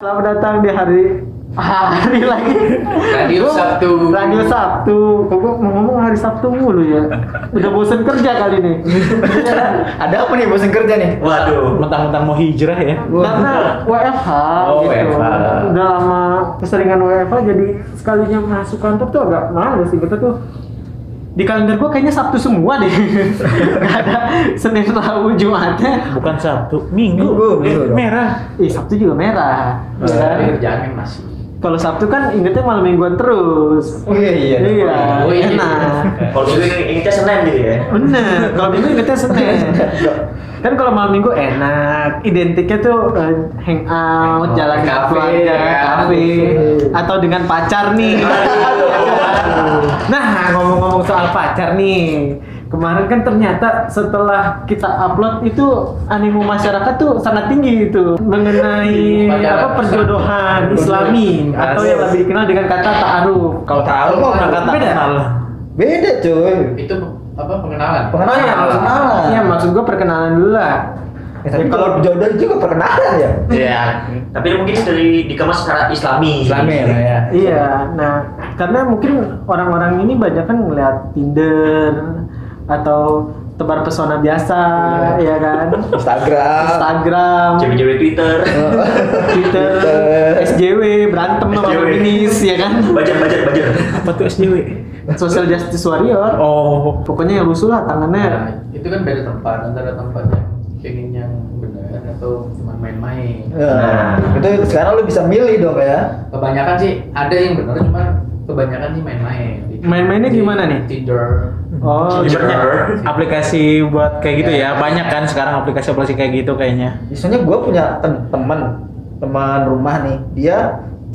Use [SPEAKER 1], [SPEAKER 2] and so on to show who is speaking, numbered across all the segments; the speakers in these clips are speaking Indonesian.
[SPEAKER 1] Selamat datang di hari hari lagi.
[SPEAKER 2] Radio
[SPEAKER 1] Gua-
[SPEAKER 2] Sabtu.
[SPEAKER 1] Radio Sabtu. Kok gua mau ngomong hari Sabtu mulu ya? Udah bosen kerja kali ini.
[SPEAKER 3] Ada apa nih bosan kerja nih?
[SPEAKER 2] Waduh.
[SPEAKER 4] mentang-mentang mau hijrah ya
[SPEAKER 1] Karena WFH
[SPEAKER 2] Oh,
[SPEAKER 1] gitu.
[SPEAKER 2] WFH.
[SPEAKER 1] Udah lama keseringan WFH jadi sekalinya masuk kantor tuh agak males sih gitu tuh. Di kalender gua kayaknya Sabtu semua deh. Gak ada Senin, Rabu, Jumatnya.
[SPEAKER 4] bukan Sabtu Minggu,
[SPEAKER 3] Minggu, Minggu
[SPEAKER 4] Eh,
[SPEAKER 3] dong.
[SPEAKER 4] merah
[SPEAKER 1] Ih, Sabtu juga merah. ya kan?
[SPEAKER 2] Dari kerjaannya masih.
[SPEAKER 1] Kalau Sabtu kan ingetnya malam mingguan terus.
[SPEAKER 3] Oh iya iya.
[SPEAKER 1] Iya,
[SPEAKER 2] Oh, iya.
[SPEAKER 1] enak.
[SPEAKER 5] Kalau dulu ingetnya Senin gitu ya.
[SPEAKER 1] Bener, kalau minggu ingetnya Senin Kan kalau malam minggu enak, identiknya tuh eh, hangout, jalan
[SPEAKER 2] Ke
[SPEAKER 1] ke
[SPEAKER 2] kafe,
[SPEAKER 1] keluarga,
[SPEAKER 2] ya.
[SPEAKER 1] kafe Atau dengan pacar nih Nah ngomong-ngomong soal pacar nih Kemarin kan ternyata setelah kita upload itu animo masyarakat tuh sangat tinggi itu mengenai
[SPEAKER 2] Pacaran.
[SPEAKER 1] apa perjodohan Islami atau yang lebih dikenal dengan kata ta'aruf.
[SPEAKER 3] Kalau tahu kan mau
[SPEAKER 4] kata
[SPEAKER 1] Beda.
[SPEAKER 4] kenal
[SPEAKER 3] Beda cuy.
[SPEAKER 2] Itu apa pengenalan?
[SPEAKER 3] Pengenalan. Perkenalan.
[SPEAKER 1] Iya maksud gua perkenalan dulu lah.
[SPEAKER 3] Ya, tapi
[SPEAKER 1] Ya,
[SPEAKER 3] kalau jodoh juga perkenalan ya.
[SPEAKER 5] Iya. Tapi mungkin dari dikemas secara Islami.
[SPEAKER 3] Islami lah ya.
[SPEAKER 1] Iya, nah karena mungkin orang-orang ini banyak kan ngeliat Tinder atau tebar pesona biasa,
[SPEAKER 4] Iya.
[SPEAKER 1] ya kan?
[SPEAKER 3] Instagram.
[SPEAKER 1] Instagram,
[SPEAKER 5] Cewek-cewek Twitter.
[SPEAKER 3] Oh.
[SPEAKER 1] Twitter,
[SPEAKER 3] Twitter.
[SPEAKER 1] SJW, berantem sama
[SPEAKER 5] SJW.
[SPEAKER 1] feminis, ya kan?
[SPEAKER 5] Bajar, bajar, bajar.
[SPEAKER 4] apa tuh SJW
[SPEAKER 1] Social Justice Warrior.
[SPEAKER 4] oh Iya.
[SPEAKER 1] Pokoknya yang rusuh lah
[SPEAKER 2] Nah,
[SPEAKER 1] tangannya.
[SPEAKER 2] itu kan beda tempat antara tempat yang pengen yang benar atau cuma main-main.
[SPEAKER 3] Ya, itu sekarang lu bisa milih dong ya.
[SPEAKER 2] Kebanyakan sih ada yang benar cuma kebanyakan sih main-main. Di-
[SPEAKER 1] Main-mainnya
[SPEAKER 2] di-
[SPEAKER 1] gimana nih?
[SPEAKER 2] Tinder.
[SPEAKER 1] Oh, Iya.
[SPEAKER 5] Tinder.
[SPEAKER 4] Ibaratnya Iya. aplikasi buat kayak gitu
[SPEAKER 2] Ya.
[SPEAKER 4] ya banyak kan sekarang aplikasi-aplikasi kayak gitu kayaknya
[SPEAKER 3] Misalnya gue punya tem- teman teman rumah nih, dia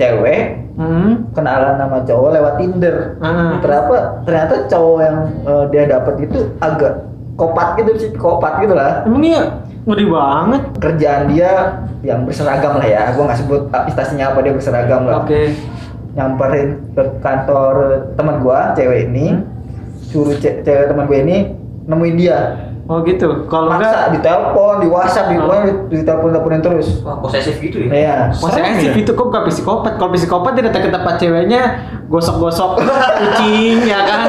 [SPEAKER 3] cewek
[SPEAKER 1] hmm.
[SPEAKER 3] kenalan sama cowok lewat Tinder.
[SPEAKER 1] Ah.
[SPEAKER 3] Ternyata ternyata cowok yang eh, dia dapat itu agak kopat gitu sih, kopat gitu lah.
[SPEAKER 1] Emang iya ngeri banget.
[SPEAKER 3] Kerjaan dia yang berseragam lah ya, gue nggak sebut aplikasinya apa dia berseragam lah.
[SPEAKER 1] Oke.
[SPEAKER 3] nyamperin ke kantor teman gua cewek ini
[SPEAKER 1] Hmm.
[SPEAKER 3] suruh ce- cewek teman gue ini nemuin dia
[SPEAKER 1] Oh gitu. Kalau
[SPEAKER 3] maksa
[SPEAKER 1] enggak
[SPEAKER 3] ditelepon di WhatsApp di
[SPEAKER 1] Oh.
[SPEAKER 3] pokoknya ditelepon teleponin terus
[SPEAKER 5] Wah, posesif gitu ya.
[SPEAKER 3] iya
[SPEAKER 1] Posesif itu kok bukan psikopat. Kalau psikopat dia datang ke tempat ceweknya gosok-gosok kucing ya kan.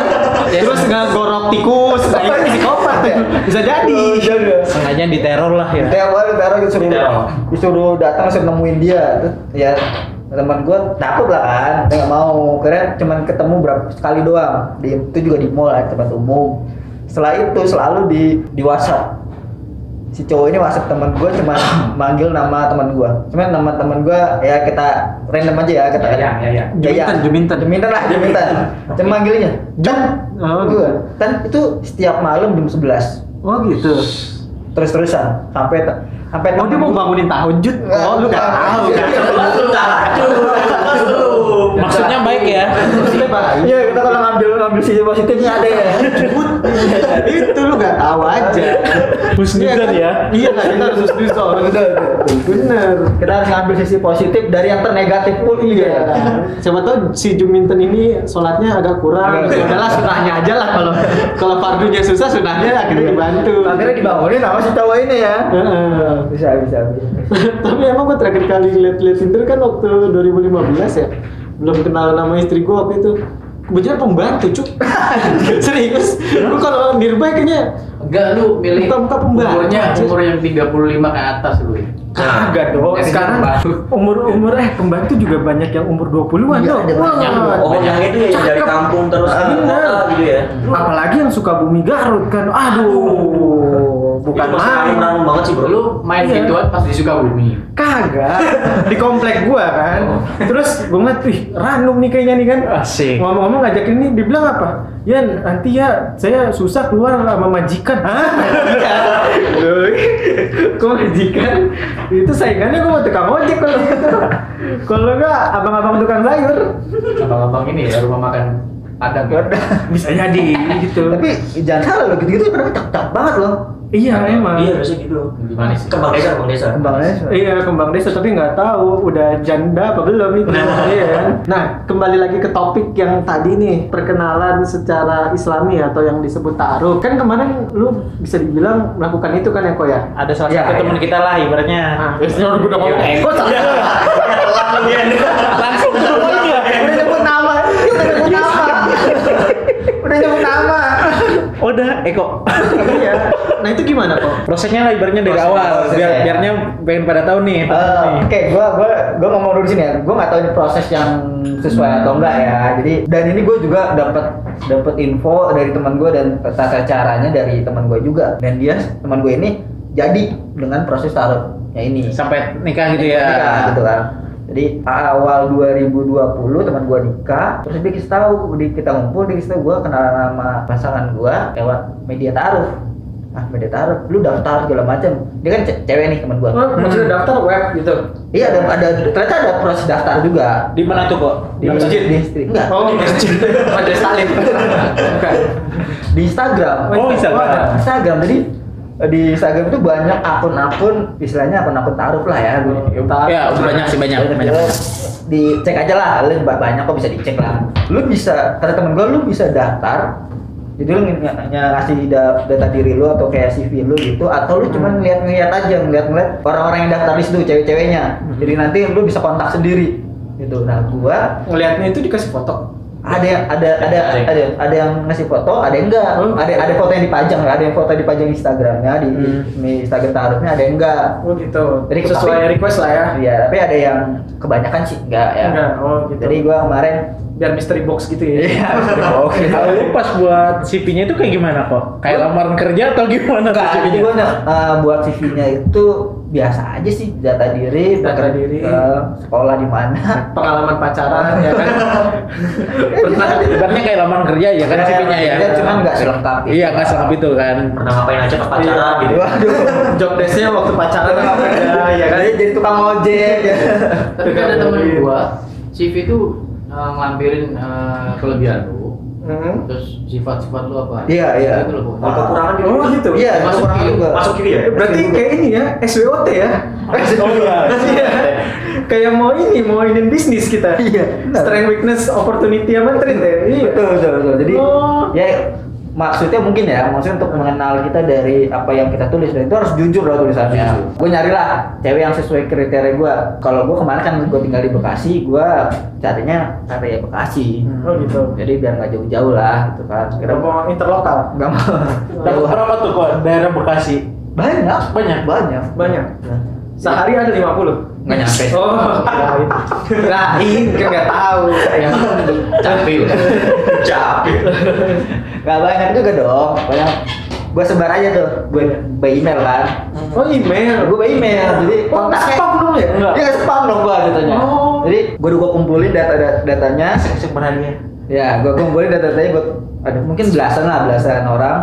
[SPEAKER 1] Terus ngegorok tikus. Nah, itu psikopat.
[SPEAKER 3] ya?
[SPEAKER 1] Bisa jadi.
[SPEAKER 3] Oh, iya,
[SPEAKER 4] sengaja diteror lah ya
[SPEAKER 3] ditelepon ditelepon disuruh
[SPEAKER 5] Ditelepon.
[SPEAKER 3] disuruh datang suruh nemuin dia terus ya teman gua takut lah kan dia nggak mau karena cuman ketemu berapa sekali doang di, itu juga di mall lah, tempat umum setelah itu selalu di di WhatsApp si cowok ini WhatsApp teman gue cuma manggil nama teman gue cuma nama teman gue ya kita random aja ya kita
[SPEAKER 2] Yayang, Yayang.
[SPEAKER 1] Juminten, Juminten.
[SPEAKER 3] Juminten lah Juminten cuma manggilnya Jum
[SPEAKER 1] Oh,
[SPEAKER 3] gue kan itu setiap malam jam 11
[SPEAKER 1] Oh gitu.
[SPEAKER 3] terus terusan sampai te- sampai
[SPEAKER 1] Oh dia
[SPEAKER 3] temen
[SPEAKER 1] mau
[SPEAKER 3] gua-
[SPEAKER 1] bangunin tahajud.
[SPEAKER 3] Eh,
[SPEAKER 1] Oh lu nggak tahu kan.
[SPEAKER 5] Jelas lu tak acuh. Jelas lu.
[SPEAKER 4] maksudnya baik ya
[SPEAKER 1] Maksudnya Pak,
[SPEAKER 3] Iya kita kalau ngambil ngambil sisi positifnya ada ya.
[SPEAKER 1] itu lu nggak tahu aja.
[SPEAKER 4] Husnuzon
[SPEAKER 1] Iya kan?
[SPEAKER 4] ya.
[SPEAKER 1] Iya kan kita harus husnuzon. Bener.
[SPEAKER 3] Kita harus ngambil sisi positif dari yang ternegatif pun
[SPEAKER 1] Iya. Siapa tahu si Juminten ini sholatnya agak kurang.
[SPEAKER 3] Iya.
[SPEAKER 1] Ya udahlah sunahnya aja lah kalau kalau fardunya susah
[SPEAKER 3] ya,
[SPEAKER 1] sunahnya ya
[SPEAKER 3] gitu,
[SPEAKER 1] akhirnya dibantu.
[SPEAKER 3] Akhirnya dibangunin sama si cowok ini ya.
[SPEAKER 1] Heeh.
[SPEAKER 3] Bisa bisa. bisa.
[SPEAKER 1] Tapi emang gue terakhir kali lihat-lihat Tinder kan waktu 2015 ya. Belum kenal nama istri gue waktu itu. Kebetulan pembantu, cuk. Serius. Gue kalau nirba kayaknya
[SPEAKER 2] Enggak lu milih
[SPEAKER 1] Muka-muka pembantu.
[SPEAKER 2] umurnya umur yang 35 ke atas lu ya.
[SPEAKER 1] kagak dong. kan
[SPEAKER 2] Ya,
[SPEAKER 1] Sekarang
[SPEAKER 2] pembantu.
[SPEAKER 1] umur-umur eh pembantu juga banyak yang umur 20-an
[SPEAKER 3] Iya,
[SPEAKER 1] dong.
[SPEAKER 3] ada banyak.
[SPEAKER 1] Wah,
[SPEAKER 5] Oh, yang itu ya yang dari
[SPEAKER 1] cakep.
[SPEAKER 5] kampung terus ke
[SPEAKER 1] Bener.
[SPEAKER 5] kota gitu ya.
[SPEAKER 1] Apalagi yang suka bumi Garut kan. Aduh, bukan
[SPEAKER 5] Itu masih
[SPEAKER 1] main.
[SPEAKER 5] orang banget sih, Bro.
[SPEAKER 2] Lu main
[SPEAKER 1] Iya.
[SPEAKER 2] gituan pas di Sukabumi.
[SPEAKER 1] Kagak. Di komplek gua kan.
[SPEAKER 2] Oh.
[SPEAKER 1] Terus gua ngeliat, wih, ranum nih kayaknya nih kan.
[SPEAKER 4] Asik.
[SPEAKER 1] Ngomong-ngomong ngajakin ini dibilang apa? Ya nanti ya saya susah keluar sama majikan. Hah? Majikan? Woi, Kok majikan? Itu saingannya gua mau tukang ojek kalau gitu. Kalau enggak abang-abang tukang sayur.
[SPEAKER 2] Abang-abang ini ya rumah makan Padang. ya?
[SPEAKER 1] Bisa jadi gitu.
[SPEAKER 5] Iya,
[SPEAKER 3] Tapi jangan salah loh gitu-gitu mereka cakep banget loh.
[SPEAKER 1] Iya emang.
[SPEAKER 5] Iya biasanya gitu.
[SPEAKER 2] Lebih manis sih.
[SPEAKER 5] Kembang desa,
[SPEAKER 1] Eh,
[SPEAKER 5] kembang desa.
[SPEAKER 3] Kembangannya
[SPEAKER 1] Iya kembang desa tapi nggak tahu udah janda apa belum itu. iya. kan? Nah kembali lagi ke topik yang tadi nih perkenalan secara Islami atau yang disebut taruh. Kan kemarin lu bisa dibilang melakukan itu kan Eko ya?
[SPEAKER 4] Ada salah
[SPEAKER 3] Iya,
[SPEAKER 4] satu
[SPEAKER 3] iya.
[SPEAKER 4] teman kita lah ibaratnya.
[SPEAKER 1] Ah.
[SPEAKER 4] Biasanya udah ngomong
[SPEAKER 1] Eko
[SPEAKER 5] Iya. Telat lu, Dian.
[SPEAKER 4] langsung ke
[SPEAKER 1] Iya.
[SPEAKER 4] poinnya.
[SPEAKER 3] Udah nyebut nama, udah nyebut nama. Udah nyebut nama.
[SPEAKER 4] Udah Eko.
[SPEAKER 1] iya. Nah itu gimana kok?
[SPEAKER 4] Prosesnya lah ibaratnya dari
[SPEAKER 3] Prosesnya,
[SPEAKER 4] awal. Biar
[SPEAKER 1] ya.
[SPEAKER 3] prosesnya.
[SPEAKER 4] biarnya pengen pada tahu nih.
[SPEAKER 3] Eh, Oke, gua gua gua ngomong dulu di sini ya. Gua nggak tahu ini proses yang sesuai atau enggak ya. Jadi dan ini gue juga dapat dapat info dari teman gue dan tata caranya dari teman gue juga. Dan dia teman gue ini jadi dengan proses taruhnya ini.
[SPEAKER 4] Sampai nikah gitu ya.
[SPEAKER 3] Nikah gitu kan. Jadi awal 2020 teman gua nikah, terus dia kasih tahu di kita ngumpul dia kasih tahu gua kenalan sama pasangan gua lewat media taruh. Ah, media taruh, lu daftar segala macam. Dia kan ce- cewek nih teman gua.
[SPEAKER 1] Oh, maksudnya
[SPEAKER 4] Hmm.
[SPEAKER 1] daftar web gitu.
[SPEAKER 3] Iya, ada, ada ternyata ada proses daftar juga.
[SPEAKER 4] Di mana tuh kok?
[SPEAKER 3] Di masjid, di Insta- enggak.
[SPEAKER 1] Oh, Majelis Salim. Bukan.
[SPEAKER 3] Di Instagram.
[SPEAKER 4] Oh, Instagram.
[SPEAKER 3] ada Instagram. Jadi di Instagram itu banyak akun-akun istilahnya akun-akun taruh lah ya.
[SPEAKER 4] Ya, banyak sih, banyak, banyak.
[SPEAKER 3] Dicek aja lah, lu ba- banyak kok bisa dicek lah. Lu bisa, kata temen gua lu bisa daftar. Jadi lu ng- ng- ngasih da- data diri lu atau kayak CV lu gitu atau lu
[SPEAKER 4] Hmm.
[SPEAKER 3] cuma ngeliat-ngeliat aja, ngeliat-ngeliat orang-orang yang daftar di situ cewek-ceweknya.
[SPEAKER 4] Hmm.
[SPEAKER 3] Jadi nanti lu bisa kontak sendiri gitu. Nah, gua
[SPEAKER 1] Ngelihatnya itu dikasih foto.
[SPEAKER 3] ada yang ada ada
[SPEAKER 5] Ada.
[SPEAKER 3] ada ada yang ngasih foto ada yang enggak
[SPEAKER 1] Hmm.
[SPEAKER 3] ada ada foto yang dipajang ada yang foto dipajang di Instagramnya di, di-
[SPEAKER 4] Hmm.
[SPEAKER 3] di Instagram taruhnya ada yang enggak
[SPEAKER 1] Oh gitu.
[SPEAKER 3] Jadi, tapi-
[SPEAKER 1] sesuai request lah ya.
[SPEAKER 3] ya tapi ada yang kebanyakan sih enggak
[SPEAKER 4] Iya.
[SPEAKER 3] ya
[SPEAKER 1] Enggak, oh gitu.
[SPEAKER 3] jadi gua kemarin
[SPEAKER 1] Biar mystery box gitu ya.
[SPEAKER 3] iya oke
[SPEAKER 4] Kalau lu pas buat CV-nya Eh, itu kayak gimana kok? Kayak lamaran kerja atau gimana tuh
[SPEAKER 3] Enggak, jadi
[SPEAKER 4] CV-nya?
[SPEAKER 3] gua eh, buat CV-nya itu biasa aja sih data diri
[SPEAKER 1] Data
[SPEAKER 3] beker-
[SPEAKER 1] diri.
[SPEAKER 3] eh, sekolah di mana
[SPEAKER 1] Pengalaman pacaran ya kan. Pernah
[SPEAKER 4] Ibaratnya kayak lamaran kerja ya kan
[SPEAKER 3] Kayak
[SPEAKER 4] CV-nya ya.
[SPEAKER 3] kerja, Iya, cuman nggak selengkap gitu itu.
[SPEAKER 4] Iya, nggak selengkap itu kan.
[SPEAKER 5] Pernah ngapain aja pas
[SPEAKER 1] Iya.
[SPEAKER 5] pacaran gitu.
[SPEAKER 3] waduh
[SPEAKER 1] job desk-nya waktu pacaran apa ada ya kan.
[SPEAKER 3] jadi, jadi tukang ojek ya.
[SPEAKER 2] Tapi kan ada temen gua, CV itu uh, ngelampirin uh, kelebihan lu,
[SPEAKER 1] Hmm.
[SPEAKER 2] terus sifat-sifat lu apa?
[SPEAKER 3] Iya, iya.
[SPEAKER 2] Itu lu
[SPEAKER 5] Kalau kekurangan gitu.
[SPEAKER 1] Oh gitu.
[SPEAKER 3] Iya,
[SPEAKER 2] Masuk
[SPEAKER 3] kurang
[SPEAKER 2] kiri.
[SPEAKER 3] juga.
[SPEAKER 5] Masuk kiri ya.
[SPEAKER 1] Berarti kayak ini ya, SWOT ya.
[SPEAKER 4] Oh iya.
[SPEAKER 1] Iya. Kayak mau ini, mau ini bisnis kita.
[SPEAKER 3] Iya, benar.
[SPEAKER 1] Strength weakness opportunity apa tren ya. Iya.
[SPEAKER 3] Betul, betul, betul. Jadi
[SPEAKER 1] Oh.
[SPEAKER 3] ya maksudnya mungkin ya, maksudnya untuk mengenal kita dari apa yang kita tulis dan itu harus jujur lah tulisannya. Gue nyarilah cewek yang sesuai kriteria gue. Kalau gue kemarin kan gue tinggal di Bekasi, gue carinya area Bekasi.
[SPEAKER 1] Oh gitu.
[SPEAKER 3] Jadi biar nggak jauh-jauh lah gitu kan.
[SPEAKER 1] Kita
[SPEAKER 3] Kira
[SPEAKER 1] mau interlokal.
[SPEAKER 3] nggak mau
[SPEAKER 4] Dapat berapa tuh kok daerah Bekasi?
[SPEAKER 3] banyak,
[SPEAKER 4] Banyak.
[SPEAKER 3] banyak,
[SPEAKER 1] Banyak.
[SPEAKER 3] Nah,
[SPEAKER 1] Sehari ada 50.
[SPEAKER 3] Nggak nyampe.
[SPEAKER 1] Oh, kirain. Kirain kan nggak tahu.
[SPEAKER 2] Capek udah.
[SPEAKER 5] Capek.
[SPEAKER 3] Nggak banyak juga dong. Banyak. Gue sebar aja tuh, gue by email kan.
[SPEAKER 1] Oh, email.
[SPEAKER 3] gue by email jadi
[SPEAKER 1] Oh,
[SPEAKER 3] kontaknya
[SPEAKER 1] spam dong ya?
[SPEAKER 3] Enggak. Iya spam dong gua datanya.
[SPEAKER 1] Oh.
[SPEAKER 3] Jadi gua udah gua kumpulin data dat- datanya.
[SPEAKER 5] Sebenarnya.
[SPEAKER 3] Ya, gua kumpulin data datanya gua ada mungkin belasan lah belasan orang.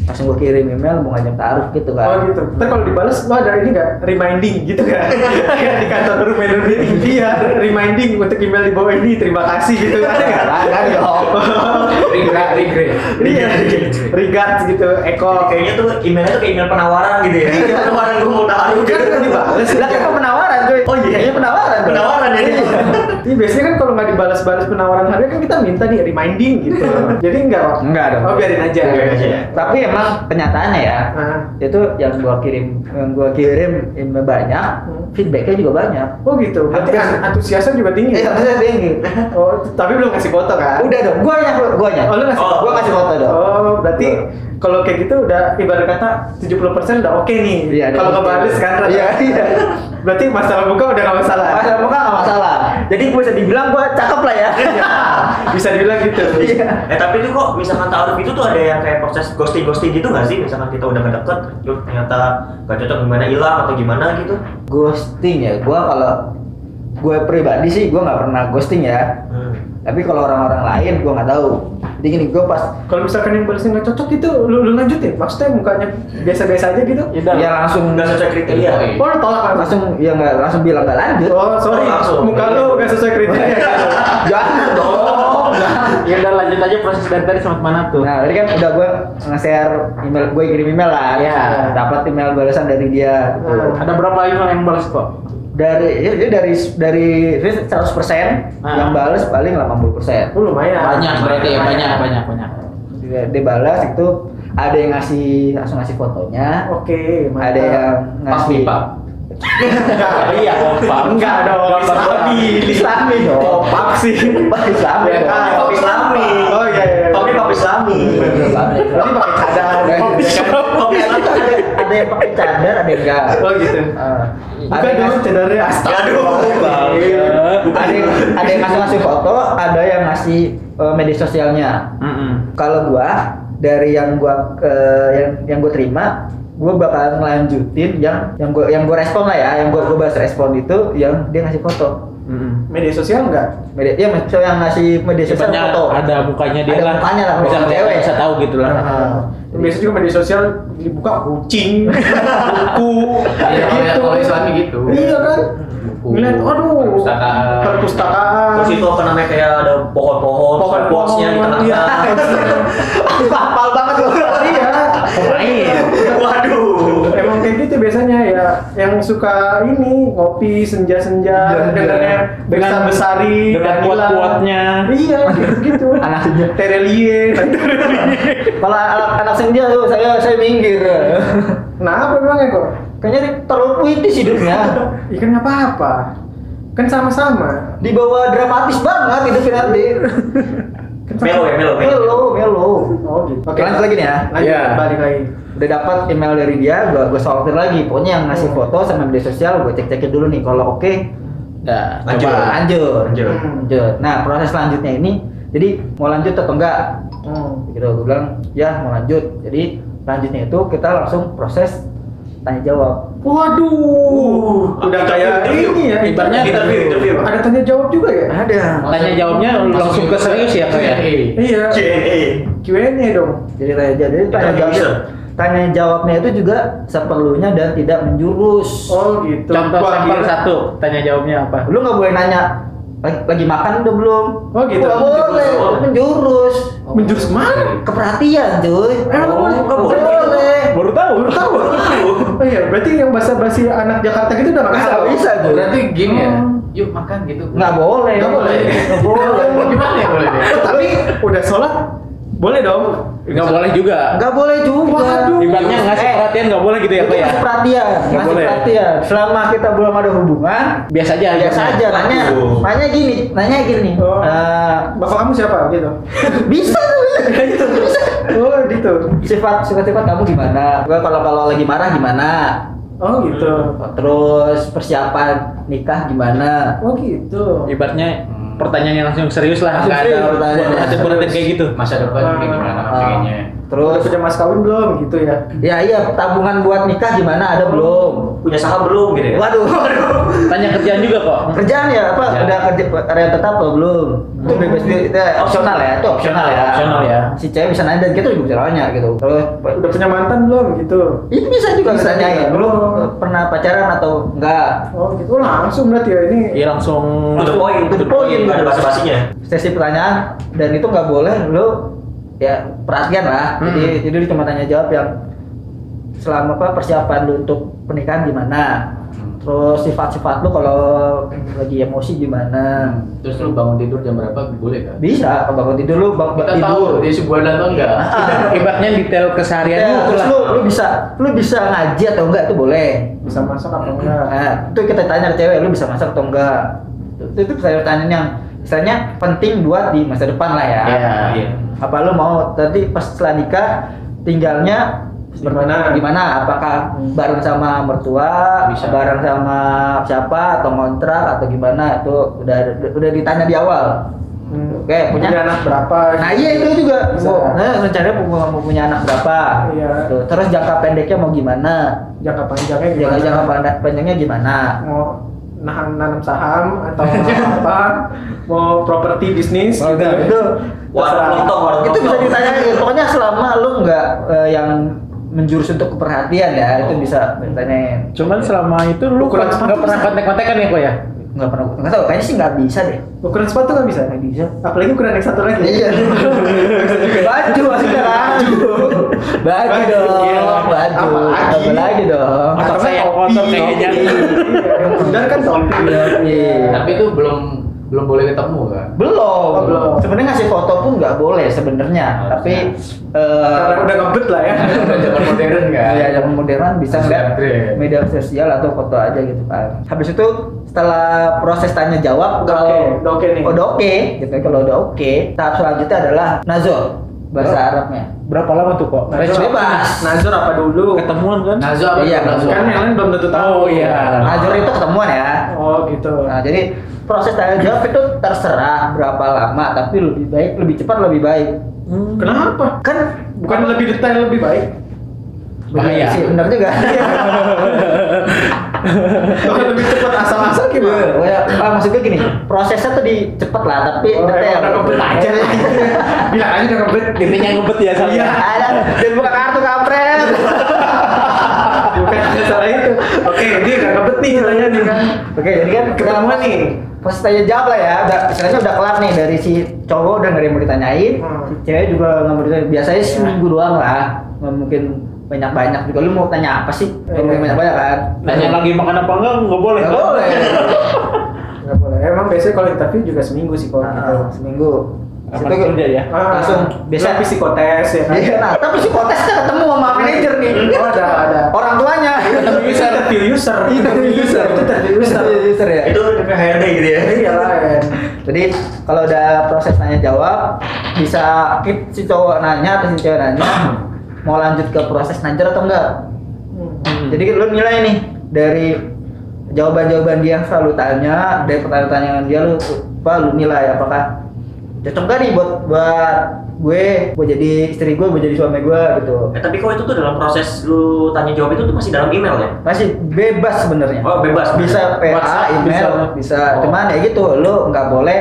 [SPEAKER 3] Langsung gua kirim email mau ngajak taruh gitu
[SPEAKER 1] Oh
[SPEAKER 3] kan.
[SPEAKER 1] gitu. Ntar kalau dibales, lo ada ini nggak reminding gitu kan? Kayak di kantor rumah meeting dia Iya, reminding untuk email di bawah ini terima kasih gitu kan?
[SPEAKER 3] Nah, kan dong.
[SPEAKER 2] Regret, regret.
[SPEAKER 1] Iya, regards gitu, Eko.
[SPEAKER 3] Iya,
[SPEAKER 5] Kalau kayaknya tuh emailnya tuh kayak email penawaran gitu ya. Iya, penawaran gue mau taruh.
[SPEAKER 1] Kan nggak dibales,
[SPEAKER 3] Lah kan penawaran cuy.
[SPEAKER 5] Oh, iya.
[SPEAKER 3] Ini penawaran. dong.
[SPEAKER 5] Penawaran ya,
[SPEAKER 3] Iya.
[SPEAKER 1] Ini biasanya kan kalau nggak dibalas-balas penawaran harga kan kita minta di reminding gitu. Jadi enggak kok.
[SPEAKER 3] Enggak dong.
[SPEAKER 1] Oh biarin aja.
[SPEAKER 5] Biarin aja.
[SPEAKER 3] Tapi emang kenyataannya ya,
[SPEAKER 1] Ah.
[SPEAKER 3] itu yang gua kirim yang gua kirim email banyak,
[SPEAKER 1] Hmm.
[SPEAKER 3] feedbacknya juga banyak.
[SPEAKER 1] Oh gitu. Berarti
[SPEAKER 3] Hampir.
[SPEAKER 1] an- antusiasnya juga tinggi.
[SPEAKER 3] Iya, maksudnya tinggi.
[SPEAKER 1] Oh, tapi belum kasih foto kan?
[SPEAKER 3] Udah dong, gua yang gua yang.
[SPEAKER 1] Oh, lu ngasih
[SPEAKER 5] Oh,
[SPEAKER 3] gua kasih foto dong.
[SPEAKER 1] Oh, berarti
[SPEAKER 3] Betul.
[SPEAKER 1] kalau kayak gitu udah ibarat kata 70% udah oke nih.
[SPEAKER 3] Iya, udah
[SPEAKER 1] kalau
[SPEAKER 3] oke.
[SPEAKER 1] kebalik kan. rata-
[SPEAKER 3] Iya, iya.
[SPEAKER 1] Berarti masalah buka udah gak masalah.
[SPEAKER 3] Masalah muka nggak masalah. Jadi gue bisa dibilang gue cakep lah ya.
[SPEAKER 1] Iya, Bisa dibilang gitu.
[SPEAKER 3] Iya.
[SPEAKER 5] Eh tapi itu kok misalkan taruh itu tuh ada yang kayak proses ghosting ghosting gitu nggak sih? Misalkan kita udah ngedeket, yuk ternyata gak cocok gimana hilang atau gimana gitu?
[SPEAKER 3] ghosting ya, gue kalau gue pribadi sih gue nggak pernah ghosting ya.
[SPEAKER 5] Hmm.
[SPEAKER 3] Tapi kalau orang-orang lain gue nggak tahu. Jadi gini gue pas
[SPEAKER 1] Kalau misalkan yang balasnya nggak cocok gitu, lu, lu lanjutin. Maksudnya mukanya biasa-biasa aja gitu.
[SPEAKER 4] Iya.
[SPEAKER 3] ya langsung
[SPEAKER 5] Nggak sesuai kriteria.
[SPEAKER 2] Oh, iya.
[SPEAKER 1] Oh, lu tolak kan?
[SPEAKER 3] langsung ya nggak langsung bilang nggak lanjut.
[SPEAKER 1] Oh, sorry.
[SPEAKER 5] Oh, langsung.
[SPEAKER 1] Muka lu gak sesuai kriteria.
[SPEAKER 3] Jangan dong. jangan.
[SPEAKER 4] ya udah lanjut aja proses dari tadi sampai mana tuh
[SPEAKER 3] Nah, tadi kan udah gue nge-share email gue kirim email lah.
[SPEAKER 4] Iya.
[SPEAKER 3] Dapat email balasan dari dia. gitu.
[SPEAKER 2] Nah.
[SPEAKER 4] ada berapa email yang balas kok
[SPEAKER 3] Dari ya, ya dari dari 100%
[SPEAKER 4] Ah.
[SPEAKER 3] yang bales paling 80%.
[SPEAKER 1] Oh, lumayan.
[SPEAKER 4] banyak berarti ya banyak banyak banyak
[SPEAKER 3] Dia, dia balas itu ada yang ngasih langsung ngasih fotonya,
[SPEAKER 1] Oke, mantap.
[SPEAKER 3] ada yang
[SPEAKER 4] pas
[SPEAKER 3] ngasih
[SPEAKER 4] nih pak
[SPEAKER 3] iya,
[SPEAKER 4] Pak.
[SPEAKER 3] Enggak dong,
[SPEAKER 4] Gambar
[SPEAKER 3] Islami. Islami dong. Pop sih. Islami.
[SPEAKER 1] Ya,
[SPEAKER 3] dong.
[SPEAKER 5] Ah, pop islami.
[SPEAKER 3] Oh iya iya.
[SPEAKER 5] Kopi pop islami.
[SPEAKER 3] Berarti pakai cadar. ya kan?
[SPEAKER 5] Kopi islami.
[SPEAKER 3] Ada ada yang pakai cadar, ada yang enggak.
[SPEAKER 1] Oh gitu.
[SPEAKER 3] Ah. Ada
[SPEAKER 1] Bukan
[SPEAKER 3] yang
[SPEAKER 1] dulu
[SPEAKER 3] ngasih-
[SPEAKER 1] cedera astaga.
[SPEAKER 5] Aduh, Bang.
[SPEAKER 3] ada yang ada yang ngasih ngasih foto, ada yang ngasih eh, media sosialnya. Kalau gua dari yang gua eh, yang yang gua terima, gua bakal ngelanjutin yang yang gua yang gua respon lah ya, yang gua gua bahas respon itu yang dia ngasih foto.
[SPEAKER 1] Media sosial enggak?
[SPEAKER 3] Media, ya maksudnya yang ngasih media sosial
[SPEAKER 4] Sifatnya
[SPEAKER 3] foto.
[SPEAKER 4] ada mukanya dia
[SPEAKER 3] Ada
[SPEAKER 4] lah
[SPEAKER 3] mukanya lah,
[SPEAKER 4] bisa
[SPEAKER 3] kalau
[SPEAKER 4] cewek
[SPEAKER 3] cewek.
[SPEAKER 4] bisa tahu gitu lah
[SPEAKER 1] Biasanya juga Ah, media sosial dibuka kucing, buku,
[SPEAKER 2] Iya,
[SPEAKER 1] kayak
[SPEAKER 2] kalau- kalau Islami gitu.
[SPEAKER 1] Iya kan?
[SPEAKER 2] Buku,
[SPEAKER 1] Ngeliat, aduh,
[SPEAKER 2] perpustakaan.
[SPEAKER 1] perpustakaan.
[SPEAKER 5] Terus itu apa namanya kayak ada pohon-pohon,
[SPEAKER 1] Pohon-pohon,
[SPEAKER 5] quotes-nya di
[SPEAKER 1] iya.
[SPEAKER 5] tengah-tengah.
[SPEAKER 3] Hafal banget lu.
[SPEAKER 1] Iya,
[SPEAKER 5] Waduh.
[SPEAKER 1] emang kayak gitu biasanya ya. Yang suka ini ngopi senja-senja, dengannya besar besari,
[SPEAKER 4] dengan kuat-kuatnya.
[SPEAKER 1] Iya, gitu.
[SPEAKER 3] Anak senja.
[SPEAKER 1] Terelie.
[SPEAKER 3] Kalau anak, anak senja tuh saya saya minggir.
[SPEAKER 1] Nah, apa emangnya kok?
[SPEAKER 3] Kayaknya dia terlalu puitis hidupnya.
[SPEAKER 1] Ikan nggak apa-apa. Kan sama-sama.
[SPEAKER 3] Dibawa dramatis banget hidupnya nanti.
[SPEAKER 1] Kan
[SPEAKER 5] Melo ya, melo, melo.
[SPEAKER 3] Melo, melo.
[SPEAKER 1] Oh gitu.
[SPEAKER 3] Oke, lanjut lagi nih ya.
[SPEAKER 1] Lanjut,
[SPEAKER 4] Iya.
[SPEAKER 1] balik lagi.
[SPEAKER 3] Udah dapat email dari dia, gua gua sortir lagi. Pokoknya yang ngasih
[SPEAKER 1] Hmm.
[SPEAKER 3] foto sama media sosial gua cek-cekin dulu nih. Kalau oke, ya,
[SPEAKER 4] Nah,
[SPEAKER 5] Lanjut.
[SPEAKER 3] coba lanjut.
[SPEAKER 5] Lanjut.
[SPEAKER 1] Hmm.
[SPEAKER 3] Lanjut. Nah, proses selanjutnya ini jadi mau lanjut atau enggak?
[SPEAKER 1] Hmm.
[SPEAKER 3] gitu gue bilang ya mau lanjut jadi lanjutnya itu kita langsung proses tanya jawab
[SPEAKER 1] Waduh, udah kayak
[SPEAKER 5] interview.
[SPEAKER 1] ini ya.
[SPEAKER 4] Ibaratnya
[SPEAKER 5] interview, interview.
[SPEAKER 1] ada tanya jawab juga ya?
[SPEAKER 3] ada
[SPEAKER 4] tanya jawabnya langsung ke serius ya kak ya
[SPEAKER 1] Iya.
[SPEAKER 5] JNE.
[SPEAKER 1] Q&A dong.
[SPEAKER 3] jadi tanya jawab jadi tanya
[SPEAKER 5] Interview
[SPEAKER 3] jawabnya
[SPEAKER 5] bisa.
[SPEAKER 3] tanya jawabnya itu juga seperlunya dan tidak menjurus
[SPEAKER 1] Oh gitu.
[SPEAKER 4] contoh
[SPEAKER 1] Wah,
[SPEAKER 4] sampel
[SPEAKER 1] gila.
[SPEAKER 4] satu tanya jawabnya apa
[SPEAKER 3] lu nggak boleh nanya lagi, lagi makan udah belum
[SPEAKER 1] Oh, gitu.
[SPEAKER 3] nggak boleh
[SPEAKER 5] Menjurus.
[SPEAKER 3] menjurus
[SPEAKER 2] Oh.
[SPEAKER 1] Menjurus mana?
[SPEAKER 3] keperhatian cuy
[SPEAKER 1] Emang boleh?
[SPEAKER 3] nggak boleh
[SPEAKER 1] Nggak boleh.
[SPEAKER 4] baru tahu
[SPEAKER 1] Baru tahu. Oh iya, berarti yang bahasa-bahasi anak Jakarta gitu udah nggak
[SPEAKER 3] nggak
[SPEAKER 1] bisa.
[SPEAKER 3] bisa cuy
[SPEAKER 2] Berarti gini ya. Yuk makan gitu.
[SPEAKER 3] nggak boleh
[SPEAKER 1] Nggak boleh.
[SPEAKER 3] nggak boleh
[SPEAKER 2] Gimana ya boleh deh?
[SPEAKER 1] Oh, tapi udah sholat, boleh dong.
[SPEAKER 4] nggak boleh juga
[SPEAKER 3] nggak boleh juga
[SPEAKER 1] Waduh.
[SPEAKER 4] ibaratnya ngasih
[SPEAKER 3] Eh,
[SPEAKER 4] perhatian nggak boleh gitu ya
[SPEAKER 3] Itu
[SPEAKER 4] kak ya
[SPEAKER 3] ngasih perhatian,
[SPEAKER 4] Nggak
[SPEAKER 3] ngasih
[SPEAKER 4] boleh. Ya,
[SPEAKER 3] perhatian. Selama kita belum ada hubungan,
[SPEAKER 4] biasa aja
[SPEAKER 3] biasa aja. Nanya,
[SPEAKER 5] Aduh.
[SPEAKER 3] nanya gini, nanya gini.
[SPEAKER 1] Oh.
[SPEAKER 3] Eh,
[SPEAKER 1] Bapak kamu siapa gitu?
[SPEAKER 3] bisa tuh, gitu. bisa.
[SPEAKER 1] Oh gitu.
[SPEAKER 3] Sifat, sifat-sifat kamu gimana? Gua kalau kalau lagi marah gimana?
[SPEAKER 1] Oh gitu.
[SPEAKER 3] Terus persiapan nikah gimana?
[SPEAKER 1] Oh gitu.
[SPEAKER 4] ibaratnya pertanyaannya langsung serius lah
[SPEAKER 3] Langsung
[SPEAKER 4] nggak
[SPEAKER 3] serius
[SPEAKER 4] ada
[SPEAKER 3] pertanyaannya.
[SPEAKER 4] perhatian kayak gitu
[SPEAKER 2] Masa depan kayak gimana
[SPEAKER 4] Ah.
[SPEAKER 3] Eh,
[SPEAKER 2] pengennya?
[SPEAKER 1] Udah
[SPEAKER 3] terus,
[SPEAKER 1] punya mas kawin belum gitu ya?
[SPEAKER 3] ya iya, tabungan buat nikah gimana? Ada belum?
[SPEAKER 5] Punya saham belum gitu ya?
[SPEAKER 3] Waduh, waduh.
[SPEAKER 4] tanya kerjaan juga kok
[SPEAKER 3] kerjaan ya apa
[SPEAKER 4] Kerjaan.
[SPEAKER 3] udah kerja karya tetap atau belum itu bebas itu itu opsional ya itu opsional ya
[SPEAKER 4] Opsional ya.
[SPEAKER 3] si cewek bisa nanya dan kita juga bisa nanya gitu terus
[SPEAKER 1] Udah punya mantan belum gitu?
[SPEAKER 3] itu bisa juga ya?
[SPEAKER 1] Bisa
[SPEAKER 3] bisa
[SPEAKER 1] juga.
[SPEAKER 3] nanya belum pernah pacaran atau enggak
[SPEAKER 1] Oh gitu. Oh, langsung berarti ya ini.
[SPEAKER 4] Iya langsung
[SPEAKER 5] To the point,
[SPEAKER 3] To the point.
[SPEAKER 5] Nggak ada basa-basinya.
[SPEAKER 3] sesi pertanyaan dan itu nggak boleh lu ya perhatian lah jadi jadi lu cuma tanya jawab yang selama apa persiapan lu untuk pernikahan gimana terus sifat-sifat lu kalau lagi emosi gimana
[SPEAKER 2] Terus lu bangun tidur jam berapa boleh kan?
[SPEAKER 3] bisa bangun tidur lu bang
[SPEAKER 2] Kita tahu ya.
[SPEAKER 3] tidur
[SPEAKER 2] dia sebulan atau enggak.
[SPEAKER 1] Ah.
[SPEAKER 4] ibaratnya detail keseharian
[SPEAKER 3] Ya,
[SPEAKER 4] lu
[SPEAKER 3] terus
[SPEAKER 4] lah
[SPEAKER 3] lu, lu bisa lu bisa ngaji atau enggak itu boleh.
[SPEAKER 1] Bisa masak apa enggak?
[SPEAKER 3] Nah, itu kita tanya ke cewek lu bisa masak atau enggak. Itu, itu pertanyaan yang misalnya penting buat di masa depan lah ya.
[SPEAKER 4] Iya.
[SPEAKER 5] Iya.
[SPEAKER 3] Apa lu mau tadi pas setelah nikah tinggalnya
[SPEAKER 1] Gimana?
[SPEAKER 3] Gimana? Apakah bareng sama mertua,
[SPEAKER 2] Bisa.
[SPEAKER 3] bareng sama siapa atau kontrak atau gimana? Itu udah udah ditanya di awal.
[SPEAKER 1] Hmm.
[SPEAKER 3] Oke, punya-
[SPEAKER 1] Punya anak berapa?
[SPEAKER 3] Nah iya itu juga.
[SPEAKER 1] Bisa.
[SPEAKER 3] Mau, nah, rencananya mau, mau punya anak berapa?
[SPEAKER 1] Iya.
[SPEAKER 3] Tuh, Terus jangka pendeknya mau gimana?
[SPEAKER 1] Jangka panjangnya
[SPEAKER 3] Jangka
[SPEAKER 1] gimana?
[SPEAKER 3] Iya, jangka pendek, pendeknya gimana?
[SPEAKER 1] Mau nahan nanam saham atau apa? Mau properti bisnis
[SPEAKER 3] Itu
[SPEAKER 1] gitu.
[SPEAKER 3] itu,
[SPEAKER 5] Warung lontong, warung
[SPEAKER 3] itu bisa
[SPEAKER 5] lontong.
[SPEAKER 3] ditanyain. Pokoknya selama lu nggak eh, yang menjurus untuk keperhatian ya itu bisa ditanyain.
[SPEAKER 4] cuman selama itu lu
[SPEAKER 1] Iya. Ukuran
[SPEAKER 4] nggak
[SPEAKER 1] sepatu
[SPEAKER 4] pernah
[SPEAKER 1] bisa.
[SPEAKER 4] kontak-kontakan ya kok ya
[SPEAKER 3] nggak pernah nggak tahu kayaknya sih nggak bisa deh
[SPEAKER 1] Ukuran sepatu nggak bisa?
[SPEAKER 3] nggak bisa
[SPEAKER 1] Apalagi ukuran yang satu lagi.
[SPEAKER 3] Iya. baju maksudnya baju. Baju dong, baju.
[SPEAKER 1] Apalagi?
[SPEAKER 3] Apa lagi dong?
[SPEAKER 4] Otak saya kotor Oh, kayaknya.
[SPEAKER 1] Yang benar kan topi.
[SPEAKER 3] Iya.
[SPEAKER 2] Tapi itu belum belum boleh ketemu kan?
[SPEAKER 3] Belum.
[SPEAKER 1] Oh, belum.
[SPEAKER 3] Sebenarnya ngasih foto pun nggak boleh sebenarnya, tapi eh
[SPEAKER 1] Karena udah ngebet lah ya.
[SPEAKER 2] Udah zaman modern
[SPEAKER 1] Iya,
[SPEAKER 2] kan?
[SPEAKER 3] Ya, zaman modern bisa ngeliat
[SPEAKER 2] Upgrade.
[SPEAKER 3] media sosial atau foto aja gitu kan. Habis itu setelah proses tanya jawab
[SPEAKER 1] Udah
[SPEAKER 3] kalau
[SPEAKER 1] oke, udah oke nih.
[SPEAKER 3] udah oke gitu kalau udah oke tahap selanjutnya adalah nazar bahasa
[SPEAKER 1] Oh.
[SPEAKER 3] Arabnya.
[SPEAKER 4] Berapa lama tuh kok?
[SPEAKER 1] Nazar apa?
[SPEAKER 3] bebas.
[SPEAKER 1] Nazar apa dulu?
[SPEAKER 4] Ketemuan kan?
[SPEAKER 2] Nazo apa?
[SPEAKER 3] Iya,
[SPEAKER 2] Nazo?
[SPEAKER 1] Kan yang lain belum tentu tahu.
[SPEAKER 4] Oh,
[SPEAKER 1] Ah.
[SPEAKER 4] iya.
[SPEAKER 3] Nazar itu ketemuan ya.
[SPEAKER 1] Oh gitu.
[SPEAKER 3] Nah, jadi proses tanya jawab itu terserah berapa lama, tapi lebih baik, lebih cepat lebih baik.
[SPEAKER 1] Kenapa?
[SPEAKER 3] Kan
[SPEAKER 1] Bukan lebih detail lebih baik.
[SPEAKER 4] Bahaya.
[SPEAKER 3] Benar sih, benar juga.
[SPEAKER 1] Iya. Bukan lebih cepat asal-asal
[SPEAKER 3] Iya,
[SPEAKER 1] gimana?
[SPEAKER 3] kayak- ah, maksud gue gini, prosesnya tuh di cepet lah, tapi
[SPEAKER 1] Oh,
[SPEAKER 3] detail.
[SPEAKER 1] emang udah ngebet aja. Bilang aja udah ngebet.
[SPEAKER 4] Intinya ngebet ya sama.
[SPEAKER 1] Iya.
[SPEAKER 3] Ada, dan buka kartu kampret.
[SPEAKER 1] Bukan asal itu. Oke, dia nggak ngebet nih caranya nih kan.
[SPEAKER 3] Oke, jadi kan kita
[SPEAKER 1] Ketemuan nih.
[SPEAKER 3] Proses tanya jawab lah ya, udah, istilahnya udah kelar nih dari si cowok udah nggak ada yang mau ditanyain,
[SPEAKER 1] Hmm. Iya.
[SPEAKER 3] si cewek juga nggak mau ditanyain. Biasanya seminggu doang lah, nggak mungkin banyak-banyak juga. Lu mau tanya apa sih? Nggak mungkin
[SPEAKER 1] Iya.
[SPEAKER 3] banyak-banyak kan?
[SPEAKER 4] Tanya lagi makan apa enggak? Enggak boleh.
[SPEAKER 3] Nggak
[SPEAKER 4] kan?
[SPEAKER 3] boleh.
[SPEAKER 1] Nggak boleh. Emang biasanya kalau interview juga seminggu sih kalau gitu.
[SPEAKER 3] Ah, seminggu.
[SPEAKER 4] Apa
[SPEAKER 3] Situ-
[SPEAKER 4] kerja ya?
[SPEAKER 1] Ah,
[SPEAKER 3] Langsung
[SPEAKER 1] biasa
[SPEAKER 3] biasa
[SPEAKER 1] psikotes ya kan.
[SPEAKER 3] Iya, nah, tapi psikotesnya ketemu sama manajer nih.
[SPEAKER 1] Oh, ada, ada.
[SPEAKER 3] Orang tuanya.
[SPEAKER 1] Interview user, interview user, interview user, Iya, itu interview user.
[SPEAKER 3] Interview user ya.
[SPEAKER 5] Itu DP HRD gitu ya.
[SPEAKER 1] Iya lah. ya.
[SPEAKER 3] Jadi kalau udah proses tanya jawab, bisa keep si cowok nanya atau si cewek nanya mau lanjut ke proses najer atau enggak.
[SPEAKER 1] Hmm.
[SPEAKER 3] Jadi lu nilai nih dari jawaban-jawaban dia yang selalu tanya, dari pertanyaan-pertanyaan dia lu apa lu nilai apakah cocok gak nih buat buat gue, buat jadi istri gue, buat jadi suami gue gitu.
[SPEAKER 5] Eh, tapi kok itu tuh dalam proses lu tanya jawab itu tuh masih dalam email ya?
[SPEAKER 3] masih bebas sebenarnya
[SPEAKER 5] Oh, bebas.
[SPEAKER 3] bisa PA
[SPEAKER 4] WhatsApp
[SPEAKER 3] email bisa,
[SPEAKER 4] bisa.
[SPEAKER 2] Oh.
[SPEAKER 3] cuman ya gitu lu nggak boleh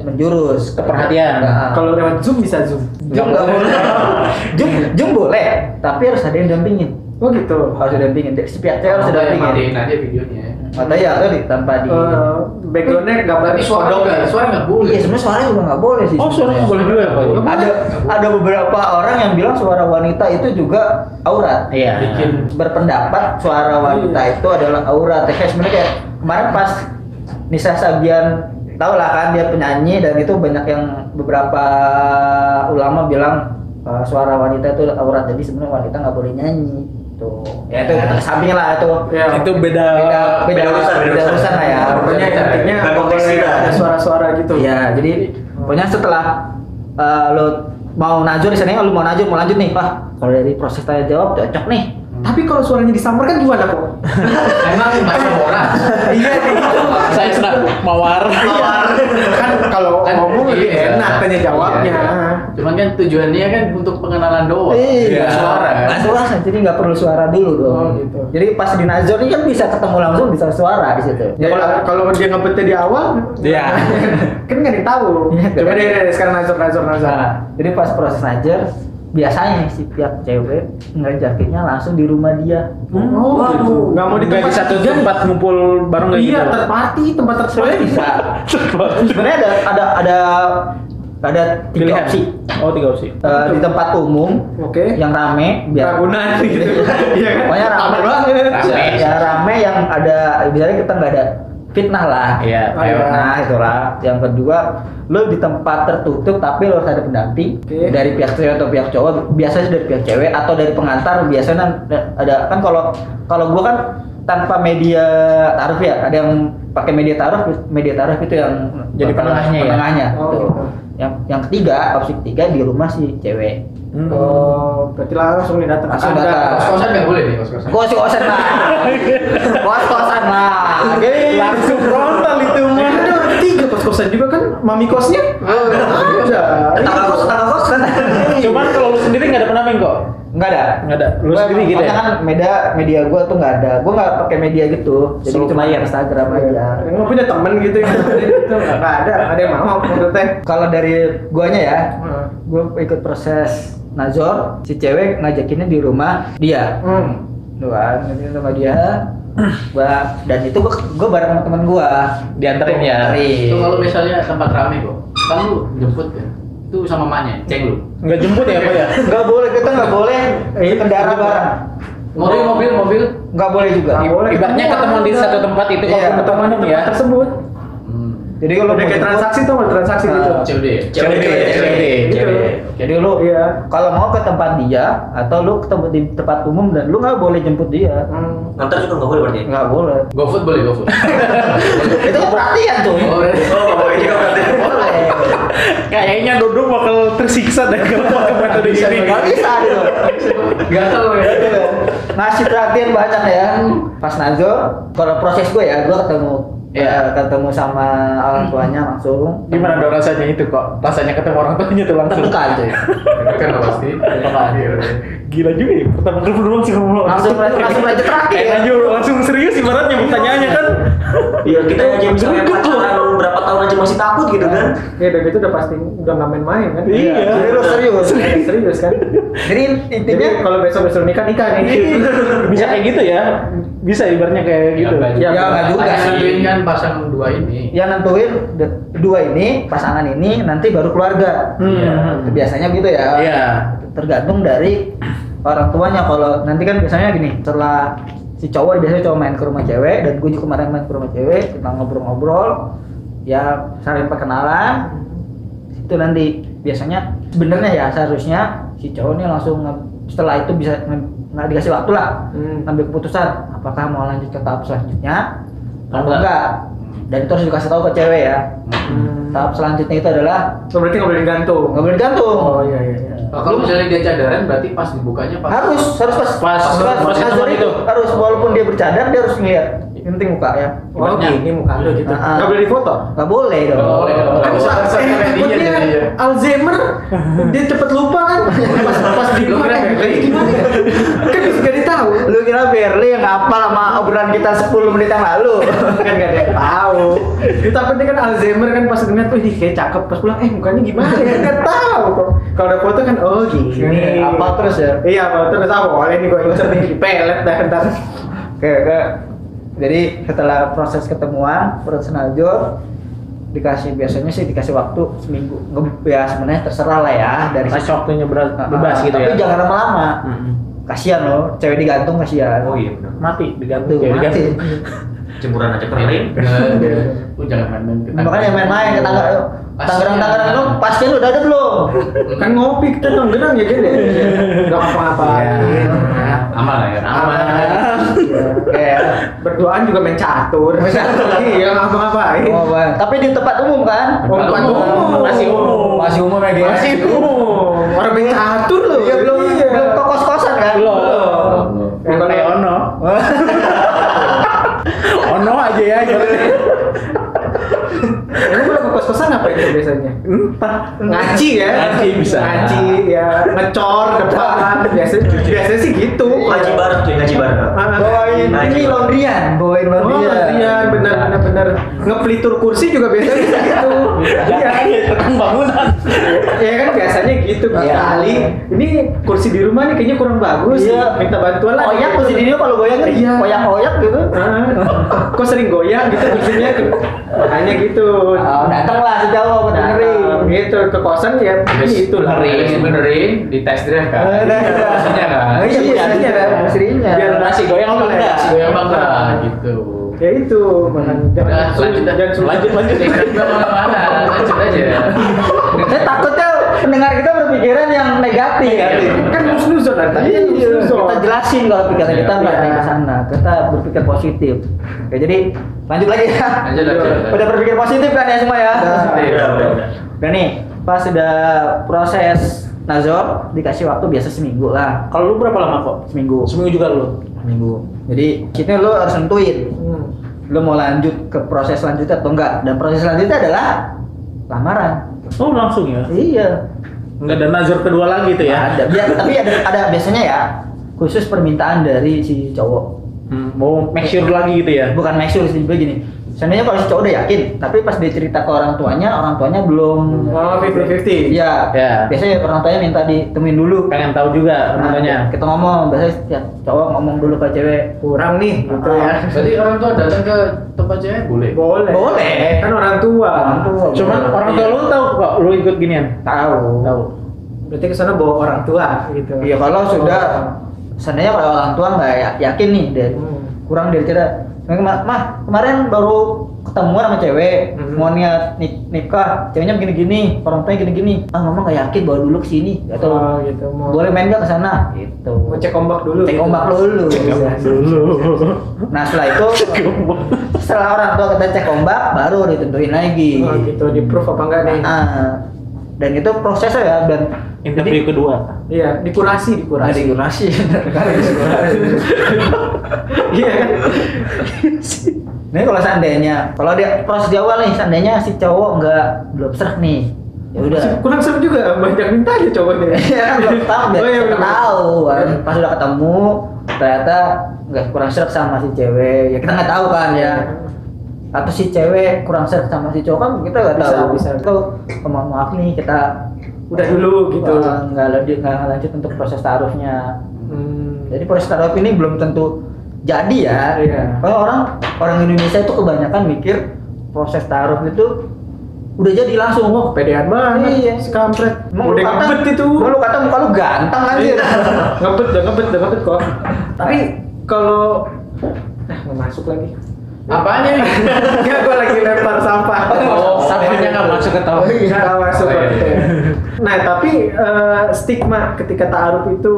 [SPEAKER 3] menjurus Nah.
[SPEAKER 4] Keperhatian.
[SPEAKER 3] Nggak.
[SPEAKER 1] Kalau lewat Zoom bisa Zoom.
[SPEAKER 3] Jum nggak boleh Jum Jum boleh tapi harus ada yang dampingin
[SPEAKER 1] Oh gitu.
[SPEAKER 3] harus ada yang dampingin si pihak cewek
[SPEAKER 4] Oh,
[SPEAKER 3] harus
[SPEAKER 2] Kalau
[SPEAKER 3] ada
[SPEAKER 2] sudah
[SPEAKER 3] yang dampingin
[SPEAKER 2] matiin aja videonya.
[SPEAKER 1] Iya,
[SPEAKER 3] atau ya atau di tanpa di
[SPEAKER 1] Eh, backgroundnya gambar
[SPEAKER 2] Tapi suara nggak, suara nggak boleh.
[SPEAKER 3] iya sebenarnya suaranya juga nggak boleh sih
[SPEAKER 4] Oh, suara nggak boleh juga ya, Pak?
[SPEAKER 3] sebenarnya. ada ada beberapa orang yang bilang suara wanita itu juga aurat
[SPEAKER 4] Iya.
[SPEAKER 2] Bikin
[SPEAKER 3] berpendapat suara wanita itu adalah aurat ya kayak sebenarnya kayak kemarin pas Nisa Sabian tau lah kan dia penyanyi dan itu banyak yang beberapa ulama bilang eh, suara wanita itu aurat jadi sebenarnya wanita nggak boleh nyanyi tuh ya itu kata samping lah itu
[SPEAKER 1] Ya.
[SPEAKER 4] Itu beda
[SPEAKER 3] beda beda,
[SPEAKER 5] beda urusan, beda
[SPEAKER 3] beda
[SPEAKER 5] urusan.
[SPEAKER 3] urusan lah ya
[SPEAKER 1] Iya, Nah, Pokoknya
[SPEAKER 2] Beda-
[SPEAKER 1] intinya
[SPEAKER 5] beda
[SPEAKER 1] nggak boleh
[SPEAKER 5] konteks kita.
[SPEAKER 1] ada suara-suara gitu.
[SPEAKER 3] Iya, jadi pokoknya setelah eh, lo mau najur di sana, lo mau najur mau lanjut nih, wah kalau dari proses tanya jawab cocok nih.
[SPEAKER 1] Tapi kalau suaranya disamarkan gimana kok?
[SPEAKER 2] emang bahasa orang.
[SPEAKER 1] Iya kayak gitu.
[SPEAKER 4] Saya sudah mawar.
[SPEAKER 1] Kan kalau
[SPEAKER 2] Kan,
[SPEAKER 1] ngomong lebih
[SPEAKER 2] iya.
[SPEAKER 1] enak tanya jawabnya. Nah,
[SPEAKER 2] Iya. Cuman kan tujuannya kan untuk pengenalan doang. Bukan Suara. kan?
[SPEAKER 3] Iya, Nggak suara, jadi nggak perlu suara dulu dong.
[SPEAKER 1] Iya. Oh, gitu.
[SPEAKER 3] Jadi pas di najur ini kan bisa ketemu langsung bisa suara di situ.
[SPEAKER 1] Ya, kalau kalau dia ngebetnya di awal,
[SPEAKER 4] Iya.
[SPEAKER 1] kan nggak ditahu.
[SPEAKER 3] Iya,
[SPEAKER 1] Coba
[SPEAKER 3] kan.
[SPEAKER 1] deh, deh, sekarang nazar nazar nazar.
[SPEAKER 3] Nah, jadi pas proses najur biasanya si pihak cewek ngajakinnya langsung di rumah dia.
[SPEAKER 1] Oh, gitu. nggak mau di
[SPEAKER 4] Nggak di
[SPEAKER 1] tempat
[SPEAKER 4] satu
[SPEAKER 1] ketiga.
[SPEAKER 4] tempat ngumpul bareng nggak
[SPEAKER 1] Iya,
[SPEAKER 4] gitu?
[SPEAKER 1] third party, tempat third
[SPEAKER 3] Sebenarnya
[SPEAKER 1] party.
[SPEAKER 3] bisa. Sebenarnya ada ada ada ada tiga
[SPEAKER 4] Pilihan.
[SPEAKER 3] opsi.
[SPEAKER 4] Oh, tiga opsi.
[SPEAKER 3] Eh, di tempat umum
[SPEAKER 1] Oke.
[SPEAKER 3] yang rame biar
[SPEAKER 1] Ragunan gitu. Iya kan?
[SPEAKER 3] Pokoknya rame
[SPEAKER 1] Rame Iya. banget.
[SPEAKER 3] Ya, ya rame yang ada biasanya kita nggak ada fitnah lah.
[SPEAKER 2] Ah,
[SPEAKER 4] Iya,
[SPEAKER 1] Oh, iya.
[SPEAKER 3] Nah itulah. Yang kedua, lo di tempat tertutup tapi lo harus ada pendamping
[SPEAKER 1] Oke.
[SPEAKER 3] dari pihak cewek atau pihak cowok. Biasanya dari pihak cewek atau dari pengantar biasanya ada kan kalau kalau gua kan tanpa media taruh ya ada yang pakai media taruh media taruh itu yang
[SPEAKER 4] Jadi penengahnya ya?
[SPEAKER 3] penengahnya,
[SPEAKER 1] Oh,
[SPEAKER 3] gitu.
[SPEAKER 1] gitu.
[SPEAKER 3] yang yang ketiga opsi ketiga di rumah si cewek
[SPEAKER 4] Hmm.
[SPEAKER 1] Oh, berarti langsung nih datang.
[SPEAKER 3] Langsung
[SPEAKER 1] Ada.
[SPEAKER 3] datang.
[SPEAKER 2] iya. Kos-kosan nggak boleh nih kos-kosan.
[SPEAKER 3] kos kosan lah kos kosan lah Gila.
[SPEAKER 4] Langsung frontal itu
[SPEAKER 1] Kan ada tiga kos-kosan juga kan, mami kosnya.
[SPEAKER 4] Oh,
[SPEAKER 1] Ada.
[SPEAKER 3] tetangga kos tetangga kos kan
[SPEAKER 4] Cuman kalau lu sendiri nggak ada pendamping kok.
[SPEAKER 3] nggak ada
[SPEAKER 4] Nggak ada. Lu
[SPEAKER 3] Gua
[SPEAKER 4] sendiri
[SPEAKER 3] emang-
[SPEAKER 4] gitu
[SPEAKER 3] makanya
[SPEAKER 4] ya.
[SPEAKER 3] kan media media gue tuh nggak ada gue nggak pakai media gitu jadi
[SPEAKER 4] Solo
[SPEAKER 3] cuma
[SPEAKER 4] player.
[SPEAKER 3] Instagram
[SPEAKER 1] Iya.
[SPEAKER 3] aja
[SPEAKER 1] Yang nggak punya temen gitu yang ada gitu. Nggak ada, ada yang mau menurutnya.
[SPEAKER 3] kalau dari guanya ya
[SPEAKER 1] Hmm.
[SPEAKER 3] gue ikut proses Nazor si cewek ngajakinnya di rumah dia
[SPEAKER 1] Hmm.
[SPEAKER 3] doang ngajakin sama dia gua dan itu gua, gua bareng sama temen gua
[SPEAKER 4] Dianterin ya?
[SPEAKER 3] Dianterin.
[SPEAKER 2] Itu kalau misalnya tempat rame kok, kan lu jemput ya? Itu sama mamanya, ceng lu.
[SPEAKER 4] Nggak jemput ya pak ya?
[SPEAKER 3] nggak boleh kita nggak boleh
[SPEAKER 1] Eh,
[SPEAKER 3] kendara bareng
[SPEAKER 4] Oh.
[SPEAKER 2] Mobil, mobil, mobil.
[SPEAKER 3] nggak boleh juga
[SPEAKER 1] Nggak boleh.
[SPEAKER 4] Ibaratnya ketemu di satu tempat itu kalau
[SPEAKER 3] Iya.
[SPEAKER 4] ketemu
[SPEAKER 1] teman
[SPEAKER 4] ya.
[SPEAKER 1] tersebut
[SPEAKER 2] Hmm.
[SPEAKER 3] jadi kalau
[SPEAKER 1] udah
[SPEAKER 3] mau
[SPEAKER 1] kayak
[SPEAKER 3] jemput-
[SPEAKER 1] transaksi tuh mau transaksi
[SPEAKER 3] Nah.
[SPEAKER 1] gitu
[SPEAKER 2] COD.
[SPEAKER 4] COD, COD.
[SPEAKER 1] Gitu.
[SPEAKER 3] jadi lu
[SPEAKER 1] Iya.
[SPEAKER 3] kalau mau ke tempat dia atau lu ketemu di tempat umum dan lu nggak boleh jemput dia
[SPEAKER 4] Hmm.
[SPEAKER 5] Nganter juga nggak boleh berarti.
[SPEAKER 3] nggak boleh
[SPEAKER 2] GoFood boleh GoFood.
[SPEAKER 3] itu kan perhatian tuh
[SPEAKER 2] Boleh.
[SPEAKER 5] Oh nggak boleh juga berarti.
[SPEAKER 3] boleh
[SPEAKER 4] Kayaknya Dodo bakal tersiksa dan kalau pakai metode
[SPEAKER 2] Bisa,
[SPEAKER 4] ini.
[SPEAKER 3] nggak bisa gitu
[SPEAKER 2] Gatel ya.
[SPEAKER 3] ngasih perhatian banyak ya pas Nazor kalau proses gue ya gue ketemu
[SPEAKER 1] Iya.
[SPEAKER 3] ya ketemu sama orang tuanya langsung
[SPEAKER 4] Gimana dong rasanya itu kok? Rasanya ketemu orang tuanya tuh langsung.
[SPEAKER 3] tertekan cuy
[SPEAKER 2] Kan pasti. Iya,
[SPEAKER 4] Gila juga ya, pertama kali doang sih ngomong
[SPEAKER 3] langsung langsung aja terakhir ya.
[SPEAKER 4] Kayak aja udah langsung serius ibaratnya pertanyaannya kan
[SPEAKER 5] Iya kita aja misalnya
[SPEAKER 4] Gitu.
[SPEAKER 5] pacaran berapa tahun aja masih takut gitu kan.
[SPEAKER 1] ya udah gitu udah pasti udah nggak main-main kan
[SPEAKER 4] Iya.
[SPEAKER 3] jadi lu serius
[SPEAKER 1] Iya, serius kan
[SPEAKER 3] jadi
[SPEAKER 1] jadi
[SPEAKER 3] intinya
[SPEAKER 1] kalau besok besok nikah nikah nih
[SPEAKER 4] bisa kayak gitu ya bisa ibaratnya kayak
[SPEAKER 2] Iya,
[SPEAKER 4] gitu
[SPEAKER 1] Ya,
[SPEAKER 3] Iya, nggak juga
[SPEAKER 2] Ada
[SPEAKER 3] sih.
[SPEAKER 2] nentuin kan pasang dua ini.
[SPEAKER 3] yang nentuin de- dua ini pasangan ini nanti baru keluarga
[SPEAKER 2] Iya.
[SPEAKER 4] Hmm.
[SPEAKER 3] biasanya gitu ya
[SPEAKER 4] iya
[SPEAKER 3] tergantung dari orang tuanya kalau nanti kan biasanya gini setelah si cowok biasanya cowok main ke rumah cewek dan gue juga kemarin main ke rumah cewek kita ngobrol-ngobrol ya saling perkenalan itu nanti biasanya sebenarnya ya seharusnya si cowok ini langsung nge- setelah itu bisa nge- nggak dikasih waktu lah
[SPEAKER 1] Hmm.
[SPEAKER 3] ambil keputusan apakah mau lanjut ke tahap selanjutnya
[SPEAKER 2] Atau
[SPEAKER 3] atau enggak dan itu harus dikasih tahu ke cewek ya
[SPEAKER 1] Hmm.
[SPEAKER 3] tahap selanjutnya itu adalah
[SPEAKER 1] Oh, berarti nggak boleh digantung
[SPEAKER 3] nggak boleh gantung
[SPEAKER 1] oh iya iya iya.
[SPEAKER 2] Oh, Kalau misalnya dia cadaran berarti pas dibukanya pas.
[SPEAKER 3] harus harus pas
[SPEAKER 4] Pas-
[SPEAKER 3] pas,
[SPEAKER 4] pas
[SPEAKER 3] pas hazard
[SPEAKER 4] teman
[SPEAKER 3] itu
[SPEAKER 4] itu.
[SPEAKER 3] harus walaupun dia bercadar dia harus ngeliat yang penting muka ya
[SPEAKER 2] Iya,
[SPEAKER 1] oh gini muka lu gitu
[SPEAKER 3] Ah, ah.
[SPEAKER 1] nggak boleh difoto
[SPEAKER 3] nggak boleh dong
[SPEAKER 2] Nggak boleh, Iya. nggak boleh.
[SPEAKER 1] kan
[SPEAKER 2] usah,
[SPEAKER 1] sa-
[SPEAKER 2] usah,
[SPEAKER 1] eh,
[SPEAKER 2] usah,
[SPEAKER 1] takutnya
[SPEAKER 2] iya, iya.
[SPEAKER 1] Alzheimer dia cepet lupa kan pas pas di
[SPEAKER 2] Lu
[SPEAKER 1] rumah
[SPEAKER 2] kira
[SPEAKER 1] eh,
[SPEAKER 2] kayak gitu.
[SPEAKER 1] gimana ya? kan bisa ditahu
[SPEAKER 3] lu kira Berli yang apal sama obrolan kita 10 menit yang lalu
[SPEAKER 1] kan gak ada yang tahu Dia takutnya kan Alzheimer kan pas ngeliat wih kayak cakep pas pulang eh mukanya gimana ya nggak tahu kok kalau ada foto kan oh gini
[SPEAKER 3] apa terus ya
[SPEAKER 1] iya apa terus apa boleh nih gue insert nih di pelet dah ntar
[SPEAKER 3] oke oke jadi setelah proses ketemuan proses najor dikasih biasanya sih dikasih waktu seminggu Nge- ya sebenarnya terserah lah ya dari
[SPEAKER 4] pas waktunya ber-
[SPEAKER 3] Ah,
[SPEAKER 4] bebas gitu ya
[SPEAKER 3] tapi jangan lama-lama
[SPEAKER 4] Mm-mm.
[SPEAKER 3] kasihan loh cewek digantung
[SPEAKER 4] ya.
[SPEAKER 3] kasihan
[SPEAKER 5] Oh iya benar.
[SPEAKER 4] mati digantung
[SPEAKER 3] Tuh,
[SPEAKER 4] ya
[SPEAKER 3] mati.
[SPEAKER 4] digantung
[SPEAKER 5] Cemburan aja kering.
[SPEAKER 2] Nggak, nggak. Lu Oh, jangan main-main ke
[SPEAKER 3] Iya. Makanya main-main iya. ya. ke Tangerang. Tangerang-Tangerang lu pasti lu udah ada belum?
[SPEAKER 1] kan ngopi kita tenggerang ya gini nggak
[SPEAKER 2] Iya.
[SPEAKER 1] apa-apain
[SPEAKER 2] Aman lah ya.
[SPEAKER 1] aman
[SPEAKER 3] Oke.
[SPEAKER 1] berduaan juga main catur iya nggak apa-apain
[SPEAKER 3] Oh, Bang. Tapi di tempat umum kan?
[SPEAKER 1] Oh, bukan umum.
[SPEAKER 4] Masih umum.
[SPEAKER 3] Masih umum
[SPEAKER 2] iya.
[SPEAKER 3] ya, dia.
[SPEAKER 4] Masih umum.
[SPEAKER 1] orang main catur loh
[SPEAKER 3] Iya, belum belum ke kos-kosan kan?
[SPEAKER 4] belum bukan
[SPEAKER 1] Belum.
[SPEAKER 4] kayak ono ono aja ya ibaratnya.
[SPEAKER 1] Emang kalau ke kos-kosan apa itu biasanya?
[SPEAKER 4] entah
[SPEAKER 1] Ngaci ya?
[SPEAKER 4] Ngaci bisa.
[SPEAKER 1] Ngaci ya, ngecor depan. Biasanya biasanya sih gitu.
[SPEAKER 5] Ngaji bareng cuy ngaji bareng.
[SPEAKER 1] Ah, iya,
[SPEAKER 3] Bawain ini laundryan, Iya, bawain
[SPEAKER 1] Oh, iya,
[SPEAKER 3] laundryan.
[SPEAKER 1] benar benar benar. Ngeflitur kursi juga biasanya bisa gitu. Iya.
[SPEAKER 4] jangan ya tukang bangunan
[SPEAKER 1] Ya kan biasanya gitu
[SPEAKER 3] Iya.
[SPEAKER 1] kali. Ini kursi di rumah nih kayaknya kurang bagus.
[SPEAKER 3] Iya.
[SPEAKER 1] Minta bantuan lah.
[SPEAKER 3] Koyak kursi di dia kalau goyang kan
[SPEAKER 1] Iya.
[SPEAKER 3] koyak-koyak gitu.
[SPEAKER 1] Ah, Kok sering goyang gitu kursinya? Makanya gitu.
[SPEAKER 3] Oh, datang lah sejauh aku dengerin.
[SPEAKER 1] Nah, gitu ke kosan ya itu
[SPEAKER 2] Habis
[SPEAKER 1] gitu.
[SPEAKER 2] itu benerin, benerin di test
[SPEAKER 4] Eh,
[SPEAKER 2] drive kan. Maksudnya kan.
[SPEAKER 3] Oh, iya,
[SPEAKER 1] Iya,
[SPEAKER 3] istrinya kan,
[SPEAKER 1] iya.
[SPEAKER 3] istrinya.
[SPEAKER 1] Biar
[SPEAKER 4] nasi goyang apa enggak
[SPEAKER 2] Si gue emang enggak gitu.
[SPEAKER 1] ya itu makanya jangan
[SPEAKER 2] Udah,
[SPEAKER 1] langsung-
[SPEAKER 2] lanjut dah.
[SPEAKER 1] jangan langsung-
[SPEAKER 4] Nah, lanjut lanjut
[SPEAKER 2] Test drive nggak kemana-mana, lanjut aja.
[SPEAKER 3] Saya takutnya pendengar kita berpikiran yang negatif.
[SPEAKER 1] kan husnuzon dari tadi kan
[SPEAKER 3] Iya,
[SPEAKER 1] husnuzon.
[SPEAKER 3] kita jelasin kalau pikiran kita nggak
[SPEAKER 1] Iya.
[SPEAKER 3] naik ke sana kita berpikir positif Oke, jadi lanjut lagi ya
[SPEAKER 2] Lanjut, lanjut, lanjut.
[SPEAKER 3] udah berpikir positif kan ya semua ya
[SPEAKER 1] Udah.
[SPEAKER 5] Udah
[SPEAKER 2] iya.
[SPEAKER 5] udah. udah.
[SPEAKER 3] udah nih pas sudah proses nazor dikasih waktu biasa seminggu lah
[SPEAKER 4] kalau lu berapa lama kok
[SPEAKER 3] seminggu
[SPEAKER 4] seminggu juga lu
[SPEAKER 3] seminggu jadi kita lo harus nentuin
[SPEAKER 1] Hmm.
[SPEAKER 3] lo mau lanjut ke proses selanjutnya atau enggak dan proses selanjutnya adalah lamaran
[SPEAKER 4] oh langsung ya
[SPEAKER 3] iya
[SPEAKER 4] nggak ada nazar kedua lagi tuh ya
[SPEAKER 3] ada Bia- tapi ada ada biasanya ya khusus permintaan dari si cowok
[SPEAKER 4] Hmm, mau make sure lagi gitu ya
[SPEAKER 3] bukan make sure sih gue gini Sebenarnya kalau si cowok udah yakin, tapi pas dia cerita ke orang tuanya, orang tuanya belum.
[SPEAKER 1] Oh, 50-50.
[SPEAKER 3] Iya.
[SPEAKER 4] Hmm. Ya.
[SPEAKER 3] Biasanya orang tuanya minta ditemuin dulu.
[SPEAKER 4] pengen tahu juga
[SPEAKER 3] Nah,
[SPEAKER 4] tentunya
[SPEAKER 3] kita ngomong, biasanya ya, cowok ngomong dulu ke cewek.
[SPEAKER 1] Kurang nih gitu ya.
[SPEAKER 2] Berarti orang tua datang ke tempat cewek boleh.
[SPEAKER 1] Boleh.
[SPEAKER 3] Boleh.
[SPEAKER 1] Kan orang tua.
[SPEAKER 3] Orang tua. iya.
[SPEAKER 4] cuman orang tua lu tahu kok lu ikut ginian
[SPEAKER 3] tahu.
[SPEAKER 4] tahu
[SPEAKER 1] Berarti ke sana bawa orang tua gitu.
[SPEAKER 3] Iya kalau sudah, seandainya kalau orang tua nggak ya- yakin nih dia
[SPEAKER 1] Hmm.
[SPEAKER 3] kurang dia cerita. Mah, mah kemarin baru ketemuan sama cewek
[SPEAKER 1] Mhm.
[SPEAKER 3] mau niat nik- nikah ceweknya begini-gini orang tuanya gini-gini ah mama nggak yakin bawa dulu ke sini atau
[SPEAKER 1] Oh, gitu. Mau,
[SPEAKER 3] boleh main nggak ke sana gitu
[SPEAKER 1] mau cek ombak dulu.
[SPEAKER 3] cek
[SPEAKER 1] gitu.
[SPEAKER 3] ombak dulu
[SPEAKER 4] dulu
[SPEAKER 3] nah setelah itu setelah orang tua kita cek ombak baru ditentuin lagi
[SPEAKER 1] Oh, gitu di proof apa enggak nih?
[SPEAKER 3] Iya. Ah, dan itu prosesnya ya dan
[SPEAKER 4] interview kedua
[SPEAKER 1] Iya, dikurasi, dikurasi.
[SPEAKER 3] kurasi Nah,
[SPEAKER 1] Iya kan?
[SPEAKER 3] Nah, Ini kalau seandainya, kalau dia proses di awal nih, seandainya si cowok nggak belum serk nih, ya udah.
[SPEAKER 1] Kurang seru juga banyak minta aja cowoknya.
[SPEAKER 3] Iya kan belum tahu, biar
[SPEAKER 1] Oh, iya,
[SPEAKER 3] kita
[SPEAKER 1] bener.
[SPEAKER 3] tahu. kan. Pas udah ketemu, ternyata nggak kurang serk sama si cewek. Ya kita nggak tahu kan
[SPEAKER 1] Iya.
[SPEAKER 3] ya. Atau si cewek kurang serk sama si cowok kan kita nggak
[SPEAKER 1] Bisa,
[SPEAKER 3] tahu.
[SPEAKER 1] bisa.
[SPEAKER 3] Itu oh, mohon maaf nih kita
[SPEAKER 1] Udah dulu gitu.
[SPEAKER 3] eh, nggak lanjut nggak lanjut untuk proses taruhnya.
[SPEAKER 1] Hmm.
[SPEAKER 3] Jadi proses taruh ini belum tentu jadi ya.
[SPEAKER 1] Iya.
[SPEAKER 3] Kalau orang orang Indonesia itu kebanyakan mikir proses taruh itu udah jadi langsung kok.
[SPEAKER 1] Pedean banget,
[SPEAKER 3] Iya.
[SPEAKER 1] sekampret. Udah ngebet itu.
[SPEAKER 3] Mau lu kata muka lu ganteng anjir.
[SPEAKER 1] ngebet, udah ngebet, udah ngebet kok.
[SPEAKER 3] Tapi
[SPEAKER 1] Kalau nah, nggak masuk lagi.
[SPEAKER 2] Apanya nih?
[SPEAKER 1] Ya gua lagi lempar sampah.
[SPEAKER 2] Oh, sampahnya
[SPEAKER 5] iya.
[SPEAKER 2] nggak masuk ke tahu.
[SPEAKER 1] Nggak masuk
[SPEAKER 2] Oh, iya.
[SPEAKER 1] konten. Nah, tapi eh, stigma ketika ta'aruf itu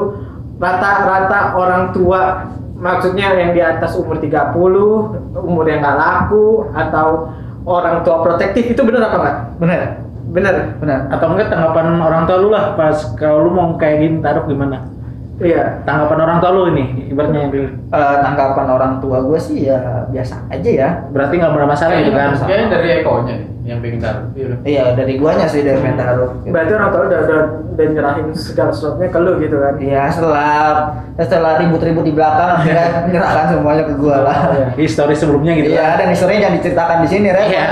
[SPEAKER 1] rata-rata orang tua maksudnya yang di atas umur 30, umur yang nggak laku atau orang tua protektif itu benar apa enggak?
[SPEAKER 3] benar,
[SPEAKER 1] Benar.
[SPEAKER 3] benar.
[SPEAKER 4] atau enggak tanggapan orang tua lu lah pas kalau lu mau kayak gini taruh gimana
[SPEAKER 1] Iya.
[SPEAKER 4] tanggapan orang tua lu ini ibaratnya yang pilih.
[SPEAKER 3] Eh, tanggapan orang tua gue sih ya biasa aja ya.
[SPEAKER 4] berarti nggak bermasalah gitu kan
[SPEAKER 2] Kayaknya dari ekonya nih yang pengen taruh. Iya udah.
[SPEAKER 3] Iya dari guanya sih dari main taruh.
[SPEAKER 1] Berarti orang tua udah udah, udah nyerahin segala sesuatunya ke lu gitu kan.
[SPEAKER 3] Iya setelah setelah ribut-ribut di belakang akhirnya menyerahkan semuanya ke gua lah.
[SPEAKER 4] histori sebelumnya gitu
[SPEAKER 3] Iya dan historinya jangan diceritakan di sini, Ren.
[SPEAKER 4] Iya.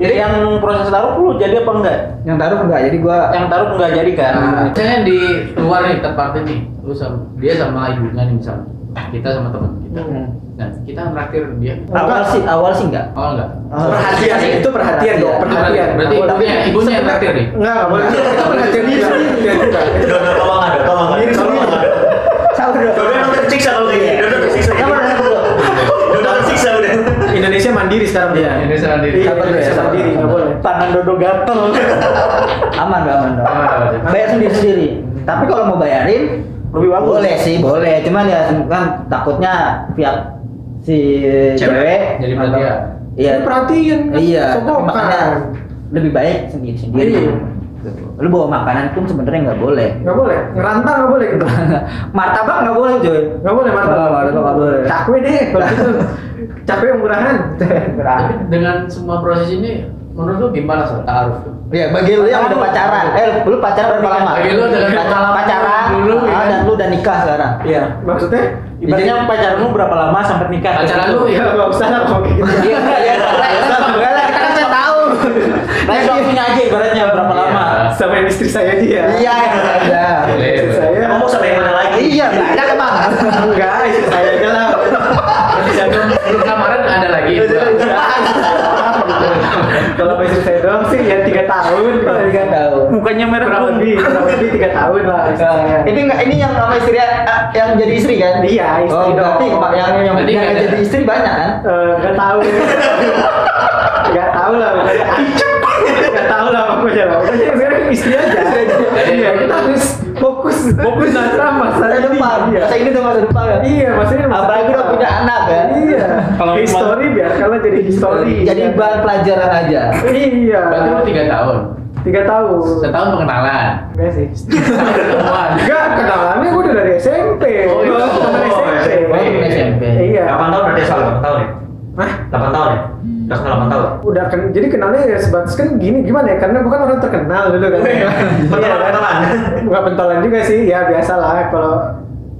[SPEAKER 4] jadi yang proses taruh lu jadi apa enggak
[SPEAKER 3] Yang taruh enggak, jadi gua
[SPEAKER 4] yang taruh enggak jadi kan
[SPEAKER 3] Nah.
[SPEAKER 2] Misalnya di luar nih tempatnya nih, lu sama dia sama ibunya nih misalnya, kita sama teman kita.
[SPEAKER 1] Hmm.
[SPEAKER 2] Nah, kita ngeraktir dia.
[SPEAKER 3] awal sih awal sih enggak.
[SPEAKER 2] Oh enggak.
[SPEAKER 3] Awal.
[SPEAKER 1] Perhatian itu perhatian dong,
[SPEAKER 3] iya.
[SPEAKER 1] perhatian.
[SPEAKER 2] Berarti ibunya, ibunya yang traktir nih.
[SPEAKER 1] Enggak, enggak boleh. Itu perhatian juga. Perhatian juga.
[SPEAKER 5] Dodo tolong ada, tolong ada, tolong ada.
[SPEAKER 3] Sahur dulu.
[SPEAKER 5] Dodo emang tersiksa kalau kayak gini. Dodo tersiksa.
[SPEAKER 3] Kamu udah sahur dulu.
[SPEAKER 5] Dodo tersiksa udah.
[SPEAKER 1] Indonesia mandiri sekarang
[SPEAKER 3] Iya.
[SPEAKER 1] dia.
[SPEAKER 2] Indonesia sendiri.
[SPEAKER 1] Iya, Indonesia mandiri, enggak boleh.
[SPEAKER 4] tangan dodo gatel
[SPEAKER 3] Aman dong, aman dong.
[SPEAKER 2] Ah,
[SPEAKER 3] Bayar sendiri sendiri. Tapi kalau mau bayarin
[SPEAKER 4] lebih bagus
[SPEAKER 3] boleh sih, boleh. Cuman ya kan takutnya pihak si
[SPEAKER 5] Cewek
[SPEAKER 3] cewek
[SPEAKER 2] jadi perhatian.
[SPEAKER 3] Iya.
[SPEAKER 1] Ini perhatian kan,
[SPEAKER 3] Iya.
[SPEAKER 1] sombongan.
[SPEAKER 3] Makanya lebih baik sendiri sendiri.
[SPEAKER 1] Iya.
[SPEAKER 3] Lu bawa makanan pun sebenarnya nggak boleh.
[SPEAKER 1] Enggak boleh. Ngerantang enggak boleh gitu.
[SPEAKER 3] martabak nggak boleh coy.
[SPEAKER 1] Enggak boleh mantap.
[SPEAKER 3] Nggak boleh, nggak boleh.
[SPEAKER 1] Cakwe deh kalau gitu. Cakwe yang murahan.
[SPEAKER 2] Tapi dengan semua proses ini, menurut lu gimana soal taruh?
[SPEAKER 3] Iya, bagi lu yang udah pacaran, eh lu pacaran berapa lama?
[SPEAKER 2] Bagi lu dengan pengalaman
[SPEAKER 3] pacaran,
[SPEAKER 2] dulu, ya
[SPEAKER 3] ah,
[SPEAKER 2] kan?
[SPEAKER 3] dan lu udah nikah sekarang.
[SPEAKER 1] Iya, maksudnya
[SPEAKER 4] ibaratnya pacarmu berapa lama sampai nikah
[SPEAKER 2] Pacaran lu
[SPEAKER 1] ya
[SPEAKER 2] ya?
[SPEAKER 1] enggak usah lah kalau kayak gitu.
[SPEAKER 3] Iya, iya, enggak lah, kita kan nggak tahu.
[SPEAKER 4] Nah, waktunya aja ibaratnya berapa
[SPEAKER 2] Iya.
[SPEAKER 4] lama.
[SPEAKER 1] Sama yang istri saya dia.
[SPEAKER 3] Iya, iya.
[SPEAKER 2] Boleh,
[SPEAKER 1] Istri
[SPEAKER 2] boleh.
[SPEAKER 1] saya.
[SPEAKER 5] Ngomong sama yang mana lagi?
[SPEAKER 3] Iya, banyak emang.
[SPEAKER 1] Enggak, istri saya aja lah.
[SPEAKER 2] Berarti sebelum sebelum lamaran ada lagi.
[SPEAKER 1] Kalau sama istri saya doang sih ya 3 tahun.
[SPEAKER 3] Enggak tahu.
[SPEAKER 4] Mukanya merah
[SPEAKER 1] Kurang
[SPEAKER 4] pun.
[SPEAKER 1] lebih, kurang lebih 3 tahun lah istri saya.
[SPEAKER 3] Ini enggak ini yang sama istri ah, yang jadi istri kan?
[SPEAKER 1] Iya, istri
[SPEAKER 3] Oh, berarti
[SPEAKER 1] dong.
[SPEAKER 3] kemarin yang yang,
[SPEAKER 2] Berarti
[SPEAKER 3] yang
[SPEAKER 2] nggak ada.
[SPEAKER 3] jadi istri banyak kan?
[SPEAKER 1] Eh, nggak tahu nggak tahu lah pokoknya nggak tahu lah pokoknya lah pokoknya sekarang kan istri aja iya kita harus fokus fokus sama masa
[SPEAKER 3] Masa
[SPEAKER 1] ini
[SPEAKER 3] depan.
[SPEAKER 1] iya
[SPEAKER 3] Masa ini tuh masa depan kan?
[SPEAKER 1] iya masa ini masa
[SPEAKER 3] Apalagi udah
[SPEAKER 1] depan.
[SPEAKER 3] punya anak kan?
[SPEAKER 1] iya kalau
[SPEAKER 4] Kalau
[SPEAKER 1] history biarkanlah jadi history
[SPEAKER 3] Jadi bahan pelajaran aja.
[SPEAKER 1] iya
[SPEAKER 2] Berarti lu tiga tahun.
[SPEAKER 1] tiga tahun
[SPEAKER 2] Setahun pengenalan.
[SPEAKER 1] enggak sih
[SPEAKER 2] Setahun ketemuan.
[SPEAKER 1] enggak kenalannya gue udah dari SMP
[SPEAKER 2] Oh, iya.
[SPEAKER 1] Teman
[SPEAKER 5] Oh,
[SPEAKER 1] SMP
[SPEAKER 2] Oh, teman SMP.
[SPEAKER 1] iya
[SPEAKER 5] 8 tahun berarti soal 8 tahun ya?
[SPEAKER 1] Hah?
[SPEAKER 5] 8 tahun ya? Udah kenal 8 tahun.
[SPEAKER 1] udah ken- jadi kenalnya ya sebatas kan gini gimana ya karena bukan orang terkenal dulu kan Iya, kan?
[SPEAKER 5] Pentolan-pentolan.
[SPEAKER 1] nggak pentolan juga sih ya biasa lah kalau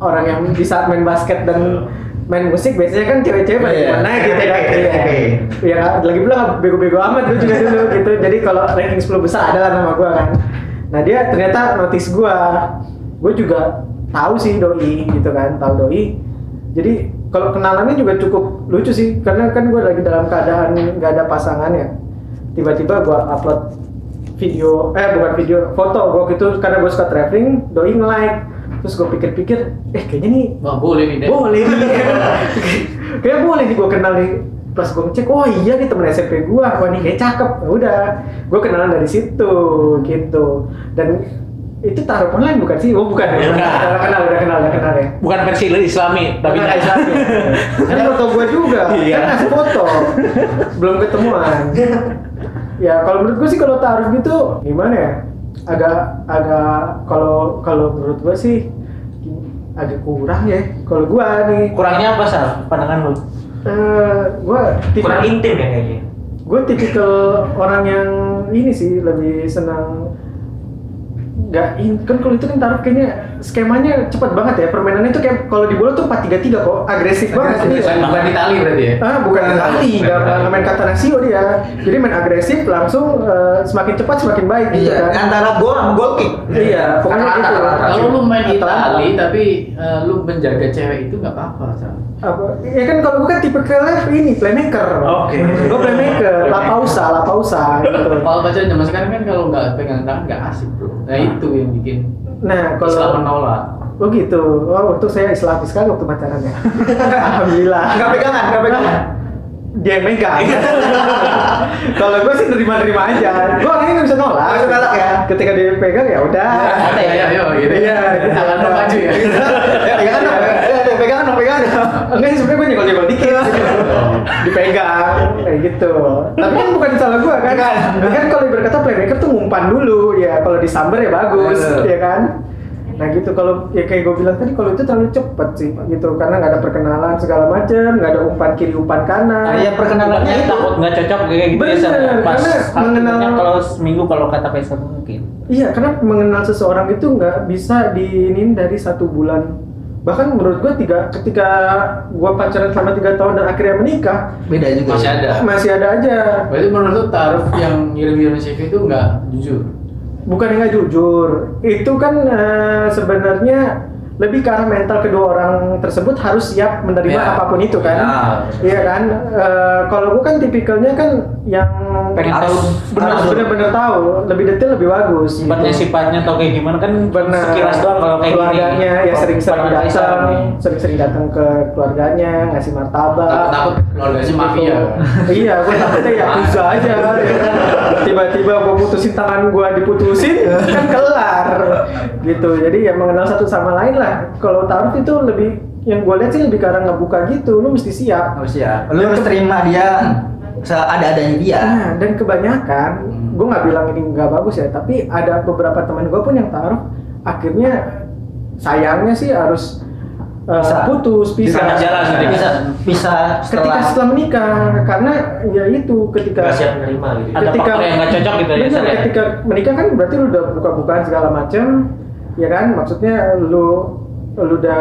[SPEAKER 1] orang yang bisa main basket dan main musik biasanya kan cewek-cewek pada
[SPEAKER 3] Iya.
[SPEAKER 1] gimana gitu kan
[SPEAKER 5] Oke,
[SPEAKER 1] Iya.
[SPEAKER 5] oke.
[SPEAKER 1] ya lagi pula nggak bego-bego amat gue juga dulu gitu jadi kalau ranking 10 besar adalah nama gue kan nah dia ternyata notice gue gue juga tahu sih doi gitu kan tahu doi jadi kalau kenalannya juga cukup lucu sih karena kan gue lagi dalam keadaan nggak ada pasangan ya tiba-tiba gue upload video eh bukan video foto gue gitu karena gue suka traveling doi nge like terus gue pikir-pikir eh kayaknya nih
[SPEAKER 2] Wah boleh nih deh.
[SPEAKER 1] boleh nih kayak boleh nih gue kenal nih pas gue ngecek oh iya nih temen SMP gue wah nih kayak cakep Ya udah gue kenalan dari situ gitu dan itu taruh online bukan sih oh bukan ya
[SPEAKER 4] Bukan.
[SPEAKER 1] udah kenal udah kenal udah kenal ya
[SPEAKER 4] Bukan versi Islami, tapi
[SPEAKER 1] Bukan Islami. kan foto gue juga
[SPEAKER 4] Iya.
[SPEAKER 1] kan ngasih foto belum ketemuan ya kalau menurut gue sih kalau taruh gitu gimana ya agak agak kalau kalau menurut gue sih agak kurang ya kalau gue nih
[SPEAKER 4] kurangnya apa sal pandangan lu?
[SPEAKER 1] Eh, gue
[SPEAKER 5] kurang
[SPEAKER 1] tipikal
[SPEAKER 5] intim ya kayaknya
[SPEAKER 1] gue tipikal orang yang ini sih lebih senang nggak in kan kalau itu kan taruh kayaknya skemanya cepat banget ya permainannya itu kayak kalau di bola tuh 4-3-3 kok agresif banget
[SPEAKER 2] Bukan-
[SPEAKER 1] Iya.
[SPEAKER 2] Bukan di tali berarti ya.
[SPEAKER 1] Ah, bukan tali,
[SPEAKER 2] Bukan
[SPEAKER 1] nggak
[SPEAKER 2] tali.
[SPEAKER 1] nggak main kata rasio dia. Jadi main agresif langsung eh, semakin cepat semakin baik gitu
[SPEAKER 3] Iya,
[SPEAKER 1] kan.
[SPEAKER 3] antara gol sama goal kick.
[SPEAKER 1] Iya, pokoknya
[SPEAKER 3] Kata-kata,
[SPEAKER 1] gitu.
[SPEAKER 3] kata-kata.
[SPEAKER 2] Kalau lu main di
[SPEAKER 1] Atau-
[SPEAKER 2] tali tapi eh, lu menjaga cewek itu nggak apa-apa Sal.
[SPEAKER 1] Apa? Ya kan kalau bukan tipe ini playmaker.
[SPEAKER 4] Oke.
[SPEAKER 1] Gue playmaker, lapausa, lapausa gitu.
[SPEAKER 2] Kalau pacaran zaman sekarang kan kalau nggak pegang tangan nggak asik bro. Nah itu yang bikin
[SPEAKER 1] Nah,
[SPEAKER 2] Islam
[SPEAKER 1] kalau
[SPEAKER 2] menolak.
[SPEAKER 1] Oh gitu. Wah, untuk saya islami sekali waktu pacaran ya. Alhamdulillah. Nah,
[SPEAKER 3] Enggak pegangan, enggak pegangan.
[SPEAKER 1] Dia yang megang. kalau gue sih nerima-nerima aja. Gue orangnya nggak bisa nolak.
[SPEAKER 3] Nggak bisa nolak ya. Iya.
[SPEAKER 1] Ketika dia pegang ya udah.
[SPEAKER 2] Santai ya, ayo gitu.
[SPEAKER 1] Iya, gitu.
[SPEAKER 2] Tangan lu maju ya.
[SPEAKER 3] Ya, pegangan dong. Ya, ya, pegangan dong, pegangan dong. Oh.
[SPEAKER 1] Enggak sih sebenarnya gue nyenggol-nyenggol dikit Dipegang Kayak gitu Tapi kan bukan salah gue kan Kan kalau berkata playmaker tuh ngumpan dulu Ya kalau disamber ya bagus
[SPEAKER 3] Bener.
[SPEAKER 1] Ya kan Nah gitu kalau ya kayak gue bilang tadi kalau itu terlalu cepet sih gitu karena nggak ada perkenalan segala macam nggak ada umpan kiri umpan kanan.
[SPEAKER 3] Iya, perkenalannya
[SPEAKER 4] Bukannya
[SPEAKER 3] itu.
[SPEAKER 4] takut nggak cocok kayak gitu ya Sal.
[SPEAKER 1] Bener,
[SPEAKER 4] Pas
[SPEAKER 1] karena
[SPEAKER 4] hal-
[SPEAKER 1] mengenal-
[SPEAKER 4] banyak kalau seminggu kalau kata Faisal mungkin.
[SPEAKER 1] Iya, karena mengenal seseorang itu nggak bisa diinin dari satu bulan. Bahkan menurut gua tiga, ketika gua pacaran selama tiga tahun dan akhirnya menikah
[SPEAKER 3] Beda juga.
[SPEAKER 2] Masih ada.
[SPEAKER 4] Ya.
[SPEAKER 1] masih ada aja.
[SPEAKER 2] Berarti menurut lu taruh yang ngirim-ngirim CV itu nggak jujur.
[SPEAKER 1] Bukan nggak jujur, itu kan eh, sebenarnya lebih ke arah mental kedua orang tersebut harus siap menerima
[SPEAKER 4] Ya.
[SPEAKER 2] Iya.
[SPEAKER 1] apapun itu kan.
[SPEAKER 3] Iya.
[SPEAKER 1] Iya kan. Eh, Kalau gua kan tipikalnya kan yang
[SPEAKER 4] Pengen tahu
[SPEAKER 3] Harus-
[SPEAKER 1] benar-
[SPEAKER 3] harus.
[SPEAKER 1] benar-benar tahu, lebih detail lebih bagus. gitu.
[SPEAKER 4] sifatnya sifatnya atau kayak gimana kan
[SPEAKER 1] benar
[SPEAKER 4] sekilas doang kalau kayak gini.
[SPEAKER 1] keluarganya ya sering-sering
[SPEAKER 4] Pandangan Faisal
[SPEAKER 1] datang
[SPEAKER 4] nih.
[SPEAKER 1] sering-sering datang ke keluarganya ngasih martabak
[SPEAKER 2] Takut-takut keluarganya mafia.
[SPEAKER 1] Gitu. iya gue takutnya ya bisa aja ya kan. tiba-tiba gue putusin tangan gue diputusin kan kelar gitu jadi ya mengenal satu sama lain lah kalau taruh itu lebih yang gue lihat sih lebih karena ngebuka gitu lu mesti siap
[SPEAKER 3] Harus ya. Lu harus terima dia seada-adanya dia.
[SPEAKER 1] Nah, dan kebanyakan,
[SPEAKER 3] Hmm.
[SPEAKER 1] gue nggak bilang ini nggak bagus ya, tapi ada beberapa teman gue pun yang taruh, akhirnya sayangnya sih harus uh,
[SPEAKER 3] Pisah.
[SPEAKER 1] putus, pisah.
[SPEAKER 4] tengah jalan, gitu.
[SPEAKER 3] Bisa bisa
[SPEAKER 1] Ketika setelah menikah, karena ya itu ketika
[SPEAKER 5] nggak siap menerima gitu
[SPEAKER 4] Ada faktor yang nggak cocok gitu ya,
[SPEAKER 1] Bener,
[SPEAKER 4] Sal, ya?
[SPEAKER 1] ketika menikah kan berarti lu udah buka-bukaan segala macam, ya kan? Maksudnya lu lu udah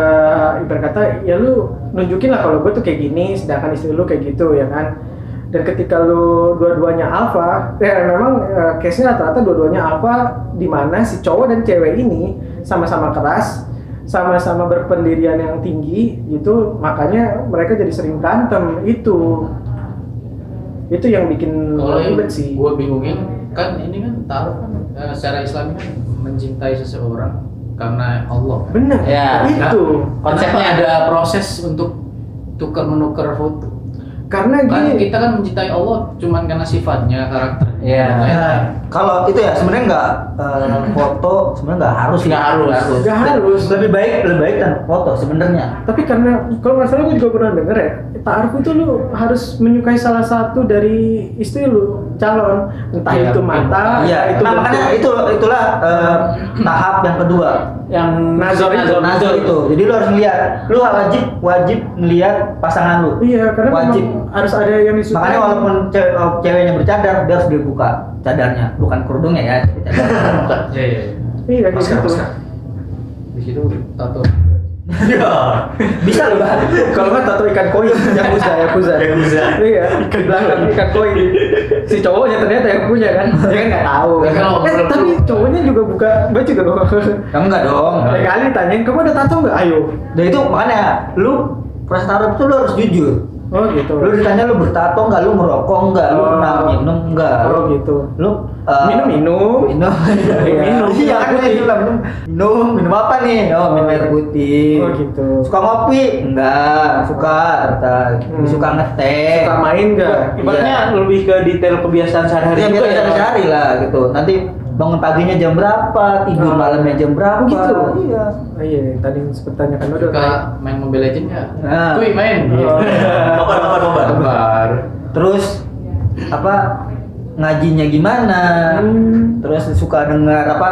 [SPEAKER 1] ibarat kata ya lu nunjukin lah kalau gue tuh kayak gini, sedangkan istri lu kayak gitu, ya kan? Dan ketika lu dua-duanya alfa, ya memang eh, case-nya rata-rata dua-duanya alfa di mana si cowok dan cewek ini sama-sama keras, sama-sama berpendirian yang tinggi gitu, makanya mereka jadi sering berantem itu. Itu yang bikin
[SPEAKER 2] Kalau yang
[SPEAKER 1] ribet sih.
[SPEAKER 2] gue bingungin kan ini kan taruh kan eh, secara Islam kan mencintai seseorang karena Allah. kan.
[SPEAKER 1] Benar.
[SPEAKER 4] Ya,
[SPEAKER 1] itu.
[SPEAKER 3] Kan-
[SPEAKER 4] Konsepnya
[SPEAKER 2] Kenapa ada proses untuk tukar menukar foto.
[SPEAKER 1] Karena
[SPEAKER 2] Kan
[SPEAKER 1] gini,
[SPEAKER 3] gitu.
[SPEAKER 2] kita kan mencintai Allah cuman karena sifatnya karakternya.
[SPEAKER 4] Iya. Hmm.
[SPEAKER 2] Makanya-
[SPEAKER 3] Nah, kalau itu ya sebenarnya nggak eh, foto sebenarnya nggak harus
[SPEAKER 4] Nggak
[SPEAKER 3] ya.
[SPEAKER 4] harus.
[SPEAKER 1] Nggak harus.
[SPEAKER 3] lebih baik lebih baik tanpa foto sebenarnya
[SPEAKER 1] tapi karena kalau nggak salah gue juga pernah denger ya, taaruf itu lu harus menyukai salah satu dari istri lu calon, entah
[SPEAKER 2] Iya,
[SPEAKER 1] itu mata,
[SPEAKER 3] iya
[SPEAKER 1] entah Ah, itu
[SPEAKER 3] nah, makanya
[SPEAKER 1] bentuk.
[SPEAKER 3] itu itulah eh, tahap yang kedua
[SPEAKER 4] Yang
[SPEAKER 1] Nazar itu.
[SPEAKER 3] nazar itu jadi lu harus ngeliat lu wajib wajib ngeliat pasangan lu
[SPEAKER 1] Iya, karena
[SPEAKER 3] wajib
[SPEAKER 1] memang harus ada yang disukai.
[SPEAKER 3] makanya walaupun ce- eh, ceweknya bercadar dia harus dibuka cadarnya bukan kerudungnya ya tapi cadar.
[SPEAKER 2] Iya iya. iya.
[SPEAKER 1] iya
[SPEAKER 5] Masker,
[SPEAKER 1] gitu.
[SPEAKER 5] masker.
[SPEAKER 2] Di situ tato.
[SPEAKER 5] Iya.
[SPEAKER 3] Bisa loh Bang.
[SPEAKER 1] Kalau nggak tato ikan koi, yakuza, yakuza.
[SPEAKER 5] Yakuza.
[SPEAKER 1] Iya, di belakang ikan koi. Si cowoknya ternyata yang punya kan.
[SPEAKER 3] Dia kan nggak tahu.
[SPEAKER 2] Ya, kalau-
[SPEAKER 1] Eh, tapi cowoknya juga buka baju dong.
[SPEAKER 3] Ya, enggak dong.
[SPEAKER 1] Lain kali tanyain, kamu ada tato nggak? Ayo.
[SPEAKER 3] Dan itu makanya lu pas taruh itu lu harus jujur.
[SPEAKER 1] Oh gitu.
[SPEAKER 3] Lu ditanya lu bertato enggak, lu merokok enggak, lu
[SPEAKER 1] Oh.
[SPEAKER 3] pernah minum enggak.
[SPEAKER 1] Oh
[SPEAKER 3] lu-
[SPEAKER 1] gitu.
[SPEAKER 3] Lu eh,
[SPEAKER 1] Minum-minum.
[SPEAKER 3] Minum. Iya,
[SPEAKER 1] Minum.
[SPEAKER 3] Iya, aku
[SPEAKER 1] Minum.
[SPEAKER 3] bilang minum. Minum, minum apa nih? Oh, minum air putih.
[SPEAKER 1] Oh, gitu.
[SPEAKER 3] Suka ngopi? Enggak, suka. ternyata.
[SPEAKER 1] Hmm.
[SPEAKER 3] Suka ngeteh.
[SPEAKER 1] Suka main nggak?
[SPEAKER 4] Ibaratnya lebih ke detail kebiasaan sehari-hari
[SPEAKER 3] Iya,
[SPEAKER 4] juga
[SPEAKER 3] biar
[SPEAKER 4] ya.
[SPEAKER 3] sehari lah gitu. Nanti bangun paginya jam berapa, tidur
[SPEAKER 1] Ah.
[SPEAKER 3] malamnya jam berapa
[SPEAKER 1] Gitu.
[SPEAKER 3] gitu. Iya.
[SPEAKER 1] Oh, iya, tadi sempat tanyakan lu
[SPEAKER 2] Suka main Mobile Legends nggak?
[SPEAKER 3] Nah.
[SPEAKER 2] Kuy main. Iya.
[SPEAKER 1] Oh.
[SPEAKER 5] Nobar, nobar, nobar.
[SPEAKER 2] Kabar.
[SPEAKER 3] Terus apa ngajinya gimana?
[SPEAKER 1] Hmm.
[SPEAKER 3] Terus suka dengar apa?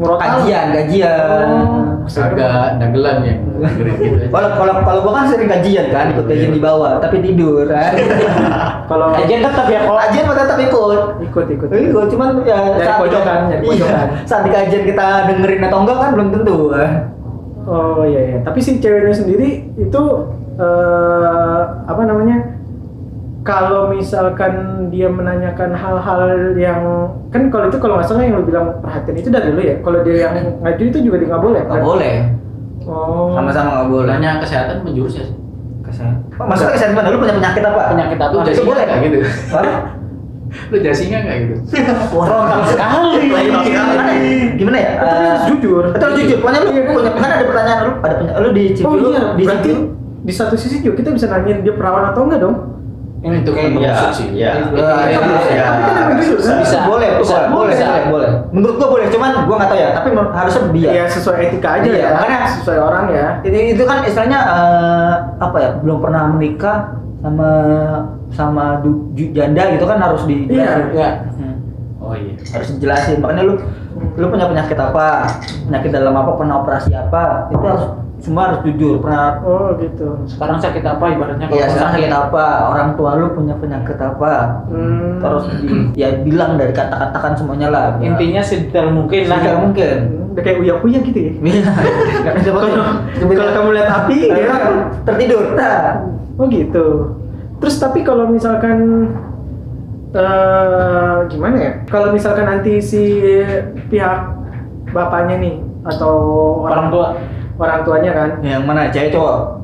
[SPEAKER 1] Murotal. Oh.
[SPEAKER 3] Kajian, kajian.
[SPEAKER 1] Hmm.
[SPEAKER 2] Agak dagelan ya. dengerin gitu aja.
[SPEAKER 3] Kalau kalau kalau gua kan sering kajian kan, ikut kajian di bawah, tapi tidur. kan.
[SPEAKER 1] Kalau
[SPEAKER 4] Kajian tetap ya kalau
[SPEAKER 3] kajian mah tetap ikut.
[SPEAKER 1] ikut ikut.
[SPEAKER 3] Ini gua cuman ya
[SPEAKER 1] Dari
[SPEAKER 3] saat
[SPEAKER 1] pojokan, dari
[SPEAKER 3] iya,
[SPEAKER 1] pojokan.
[SPEAKER 3] saat di kajian kita dengerin atau enggak kan belum tentu.
[SPEAKER 1] Oh iya, iya. tapi si ceweknya sendiri itu eh, apa namanya? Kalau misalkan dia menanyakan hal-hal yang kan kalau itu kalau nggak salah yang lu bilang perhatian itu dari lu ya. Kalau dia yang ngaju itu juga dia nggak boleh.
[SPEAKER 3] Enggak
[SPEAKER 1] kan?
[SPEAKER 3] boleh.
[SPEAKER 1] Oh.
[SPEAKER 3] Sama-sama enggak boleh.
[SPEAKER 2] Nanya kesehatan menjurus ya sih.
[SPEAKER 3] Kesehatan. Maksudnya kesehatan mana? Lu punya penyakit apa?
[SPEAKER 2] Penyakit apa?
[SPEAKER 3] Oh, Itu
[SPEAKER 2] Jasinya
[SPEAKER 3] boleh.
[SPEAKER 2] nggak gitu?
[SPEAKER 3] Apa?
[SPEAKER 2] Lu jasinya nggak gitu?
[SPEAKER 3] Frontal sekali.
[SPEAKER 5] Frontal sekali.
[SPEAKER 3] Gimana ya?
[SPEAKER 1] Tapi harus
[SPEAKER 3] Eh,
[SPEAKER 1] jujur.
[SPEAKER 3] Itu harus jujur. Pokoknya lu
[SPEAKER 1] Iya, kan?
[SPEAKER 3] punya kan ada pertanyaan lu ada penya- lu di
[SPEAKER 1] Oh iya,
[SPEAKER 3] di
[SPEAKER 1] berarti di satu sisi juga kita bisa nanyain dia perawan atau enggak dong?
[SPEAKER 2] Ini itu kan
[SPEAKER 3] Iya,
[SPEAKER 2] menusuk sih.
[SPEAKER 5] iya.
[SPEAKER 2] Itu- kan
[SPEAKER 3] Eh,
[SPEAKER 2] itu-
[SPEAKER 3] iya,
[SPEAKER 2] itu-
[SPEAKER 3] iya.
[SPEAKER 1] Bisa,
[SPEAKER 3] bisa boleh, boleh,
[SPEAKER 2] bisa,
[SPEAKER 3] boleh,
[SPEAKER 2] bisa.
[SPEAKER 3] boleh, boleh. Menurut gua boleh, cuman gua nggak tahu ya. Tapi menurut- harusnya dia.
[SPEAKER 1] Ya sesuai etika aja
[SPEAKER 3] Iya,
[SPEAKER 1] ya.
[SPEAKER 3] makanya-
[SPEAKER 1] sesuai orang ya.
[SPEAKER 3] Itu, itu kan istilahnya eh, apa ya? Belum pernah menikah sama sama du- ju- janda gitu kan harus di
[SPEAKER 1] Iya.
[SPEAKER 2] Iya.
[SPEAKER 3] Hmm.
[SPEAKER 2] Oh iya.
[SPEAKER 3] harus dijelasin makanya lu lu punya penyakit apa penyakit dalam apa pernah operasi apa itu harus semua harus jujur pernah
[SPEAKER 1] Oh gitu.
[SPEAKER 4] sekarang sakit apa ibaratnya
[SPEAKER 5] Iya,
[SPEAKER 4] kalau
[SPEAKER 3] ya sekarang
[SPEAKER 4] sakit
[SPEAKER 3] sakit apa orang tua lu punya penyakit apa
[SPEAKER 1] Hmm.
[SPEAKER 3] terus di, ya bilang dari kata-katakan semuanya lah Ya.
[SPEAKER 4] intinya sedetail mungkin lah.
[SPEAKER 3] sedetail mungkin
[SPEAKER 1] udah kayak uya-uya gitu ya.
[SPEAKER 3] Iya. Nggak bisa pakai.
[SPEAKER 1] Kalau
[SPEAKER 3] Kemudian-
[SPEAKER 1] kalau kamu lihat api,
[SPEAKER 3] Nah,
[SPEAKER 1] dia
[SPEAKER 3] tertidur nah.
[SPEAKER 1] oh gitu. Terus tapi kalau misalkan eh gimana ya? Kalau misalkan nanti si pihak bapaknya nih atau
[SPEAKER 4] Orang tua.
[SPEAKER 1] orang tuanya kan,
[SPEAKER 3] yang mana cewek cowok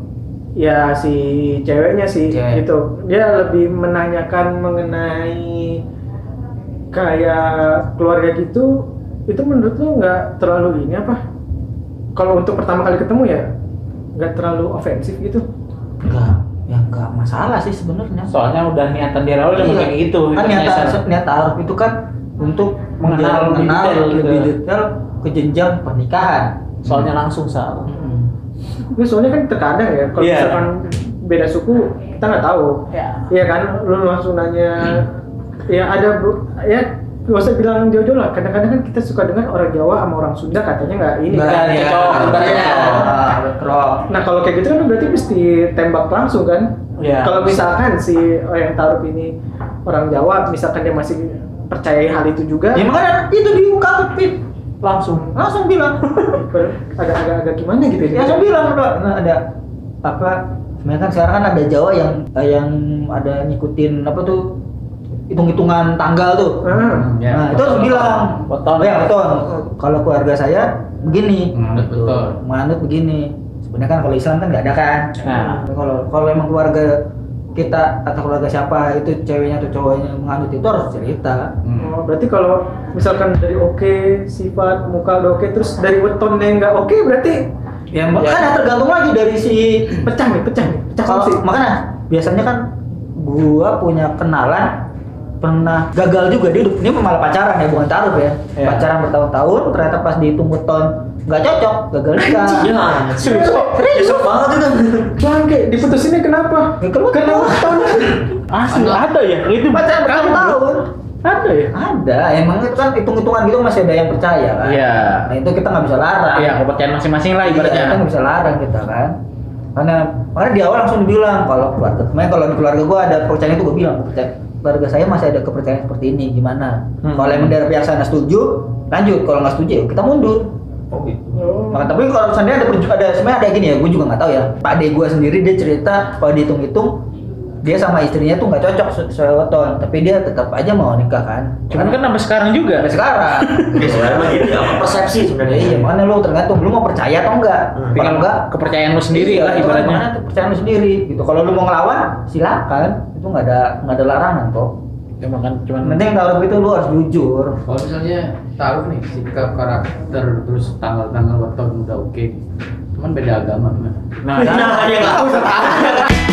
[SPEAKER 1] ya si ceweknya sih
[SPEAKER 4] Iya,
[SPEAKER 3] Cewek.
[SPEAKER 1] gitu. Dia lebih menanyakan mengenai kayak keluarga gitu. Itu menurut lu nggak terlalu ini apa? Kalau untuk pertama kali ketemu ya nggak terlalu ofensif gitu.
[SPEAKER 3] enggak ya enggak masalah sih sebenarnya
[SPEAKER 4] Soalnya udah niatan dari awal udah
[SPEAKER 3] Iya.
[SPEAKER 4] kayak gitu.
[SPEAKER 3] Kan
[SPEAKER 4] ibaratnya
[SPEAKER 3] niat
[SPEAKER 4] saran.
[SPEAKER 3] niat ta'aruf itu kan untuk
[SPEAKER 4] Mengenal lebih
[SPEAKER 3] mengenal mengenal
[SPEAKER 4] detail,
[SPEAKER 3] lebih
[SPEAKER 4] gitu.
[SPEAKER 3] detail ke jenjang pernikahan.
[SPEAKER 4] Soalnya langsung salah.
[SPEAKER 1] Gue soalnya kan terkadang ya kalau
[SPEAKER 4] Iya.
[SPEAKER 1] misalkan beda suku kita nggak tahu. Iya kan, lu langsung nanya. Ya ada bu- ya gak usah bilang jauh-jauh lah. Kadang-kadang kan kita suka dengar orang Jawa sama orang Sunda katanya nggak ini.
[SPEAKER 3] Nah,
[SPEAKER 1] kan.
[SPEAKER 4] iya.
[SPEAKER 3] ya.
[SPEAKER 4] cocok,
[SPEAKER 3] Iya.
[SPEAKER 4] cocok.
[SPEAKER 3] Ah, cocok.
[SPEAKER 1] Nah kalau kayak gitu kan lu berarti mesti tembak langsung kan?
[SPEAKER 4] Iya.
[SPEAKER 1] Kalau misalkan si oh, yang taruh ini orang Jawa, misalkan dia masih percayai hal itu juga,
[SPEAKER 3] Ya
[SPEAKER 4] Iya.
[SPEAKER 3] makanya itu diungkapin
[SPEAKER 4] Langsung.
[SPEAKER 3] langsung bilang.
[SPEAKER 1] agak-agak gimana gitu
[SPEAKER 4] Iya,
[SPEAKER 3] ya
[SPEAKER 4] kan?
[SPEAKER 3] langsung bilang udah nah, ada apa sebenarnya kan sekarang kan ada Jawa yang eh, yang ada ngikutin apa tuh hitung-hitungan tanggal tuh.
[SPEAKER 1] Ah,
[SPEAKER 2] Ya,
[SPEAKER 3] nah, itu harus
[SPEAKER 2] betul.
[SPEAKER 3] bilang.
[SPEAKER 4] Betul.
[SPEAKER 3] Ya, betul. Kalau keluarga saya begini. Gitu.
[SPEAKER 2] Menganut betul.
[SPEAKER 3] Menganut begini. Sebenarnya kan kalau Islam kan nggak ada kan.
[SPEAKER 4] Nah.
[SPEAKER 3] Kalau kalau emang keluarga kita atau keluarga siapa itu ceweknya atau cowoknya menganut itu harus cerita.
[SPEAKER 2] Hmm.
[SPEAKER 1] Oh, berarti kalau misalkan dari oke sifat muka udah oke terus dari wetonnya nggak oke berarti
[SPEAKER 3] Ya, makanya tergantung lagi dari si
[SPEAKER 1] pecah nih pecah nih pecah
[SPEAKER 3] kalau
[SPEAKER 1] sih
[SPEAKER 3] makanya biasanya kan gua punya kenalan pernah gagal juga dia dia malah pacaran ya bukan taruh ya
[SPEAKER 4] Iya.
[SPEAKER 3] pacaran bertahun-tahun ternyata pas dihitung tahun nggak cocok gagal nikah
[SPEAKER 5] Iya.
[SPEAKER 3] Serius?
[SPEAKER 5] Besok banget itu.
[SPEAKER 1] bangke diputusinnya kenapa
[SPEAKER 3] Ya, kenapa?
[SPEAKER 1] karena weton
[SPEAKER 4] Oh. Asli ada ya? Itu
[SPEAKER 3] pacaran bertahun-tahun
[SPEAKER 4] Ada ya?
[SPEAKER 3] ada emang itu kan hitung-hitungan gitu masih ada yang percaya kan
[SPEAKER 4] Iya.
[SPEAKER 3] nah itu kita nggak bisa larang
[SPEAKER 4] Iya, kepercayaan masing-masing lah
[SPEAKER 3] Iya, kita
[SPEAKER 4] ibaratnya.
[SPEAKER 3] nggak bisa larang kita kan karena makanya di awal langsung dibilang kalau keluarga kemarin kalau di keluarga gue ada kepercayaan itu gue bilang kepercayaan keluarga saya masih ada kepercayaan seperti ini gimana
[SPEAKER 4] Hmm.
[SPEAKER 3] kalau emang dari pihak sana setuju lanjut kalau nggak setuju ya kita mundur
[SPEAKER 5] Oh gitu.
[SPEAKER 3] Maka, tapi kalau misalnya ada perju- ada sebenarnya ada gini ya, gue juga nggak tahu ya. Pak de gue sendiri dia cerita kalau dihitung-hitung dia sama istrinya tuh nggak cocok se- seweton, tapi dia tetap aja mau nikah kan.
[SPEAKER 4] Cuman kan sampai sekarang juga.
[SPEAKER 3] sampai sekarang.
[SPEAKER 5] Ya sebenarnya mah gitu ya, apa persepsi sebenarnya.
[SPEAKER 3] iya, makanya lu tergantung lu mau percaya atau enggak.
[SPEAKER 5] Hmm.
[SPEAKER 3] Kalau
[SPEAKER 4] Tinggal
[SPEAKER 3] enggak,
[SPEAKER 4] Iya, kepercayaan lu sendiri
[SPEAKER 3] iya,
[SPEAKER 4] lah
[SPEAKER 3] itu kan
[SPEAKER 4] ibaratnya.
[SPEAKER 3] makanya tuh percayaan lu sendiri gitu. Kalau lu mau ngelawan, silakan. Itu nggak ada nggak ada larangan kok.
[SPEAKER 4] Ya makan
[SPEAKER 2] kan
[SPEAKER 4] cuman
[SPEAKER 3] Yang penting taruh itu lu harus jujur.
[SPEAKER 2] Kalau misalnya taruh nih sikap karakter terus tanggal-tanggal waktu udah oke, cuman beda agama gimana?
[SPEAKER 4] nah,
[SPEAKER 5] Nah, hanya nggak tahu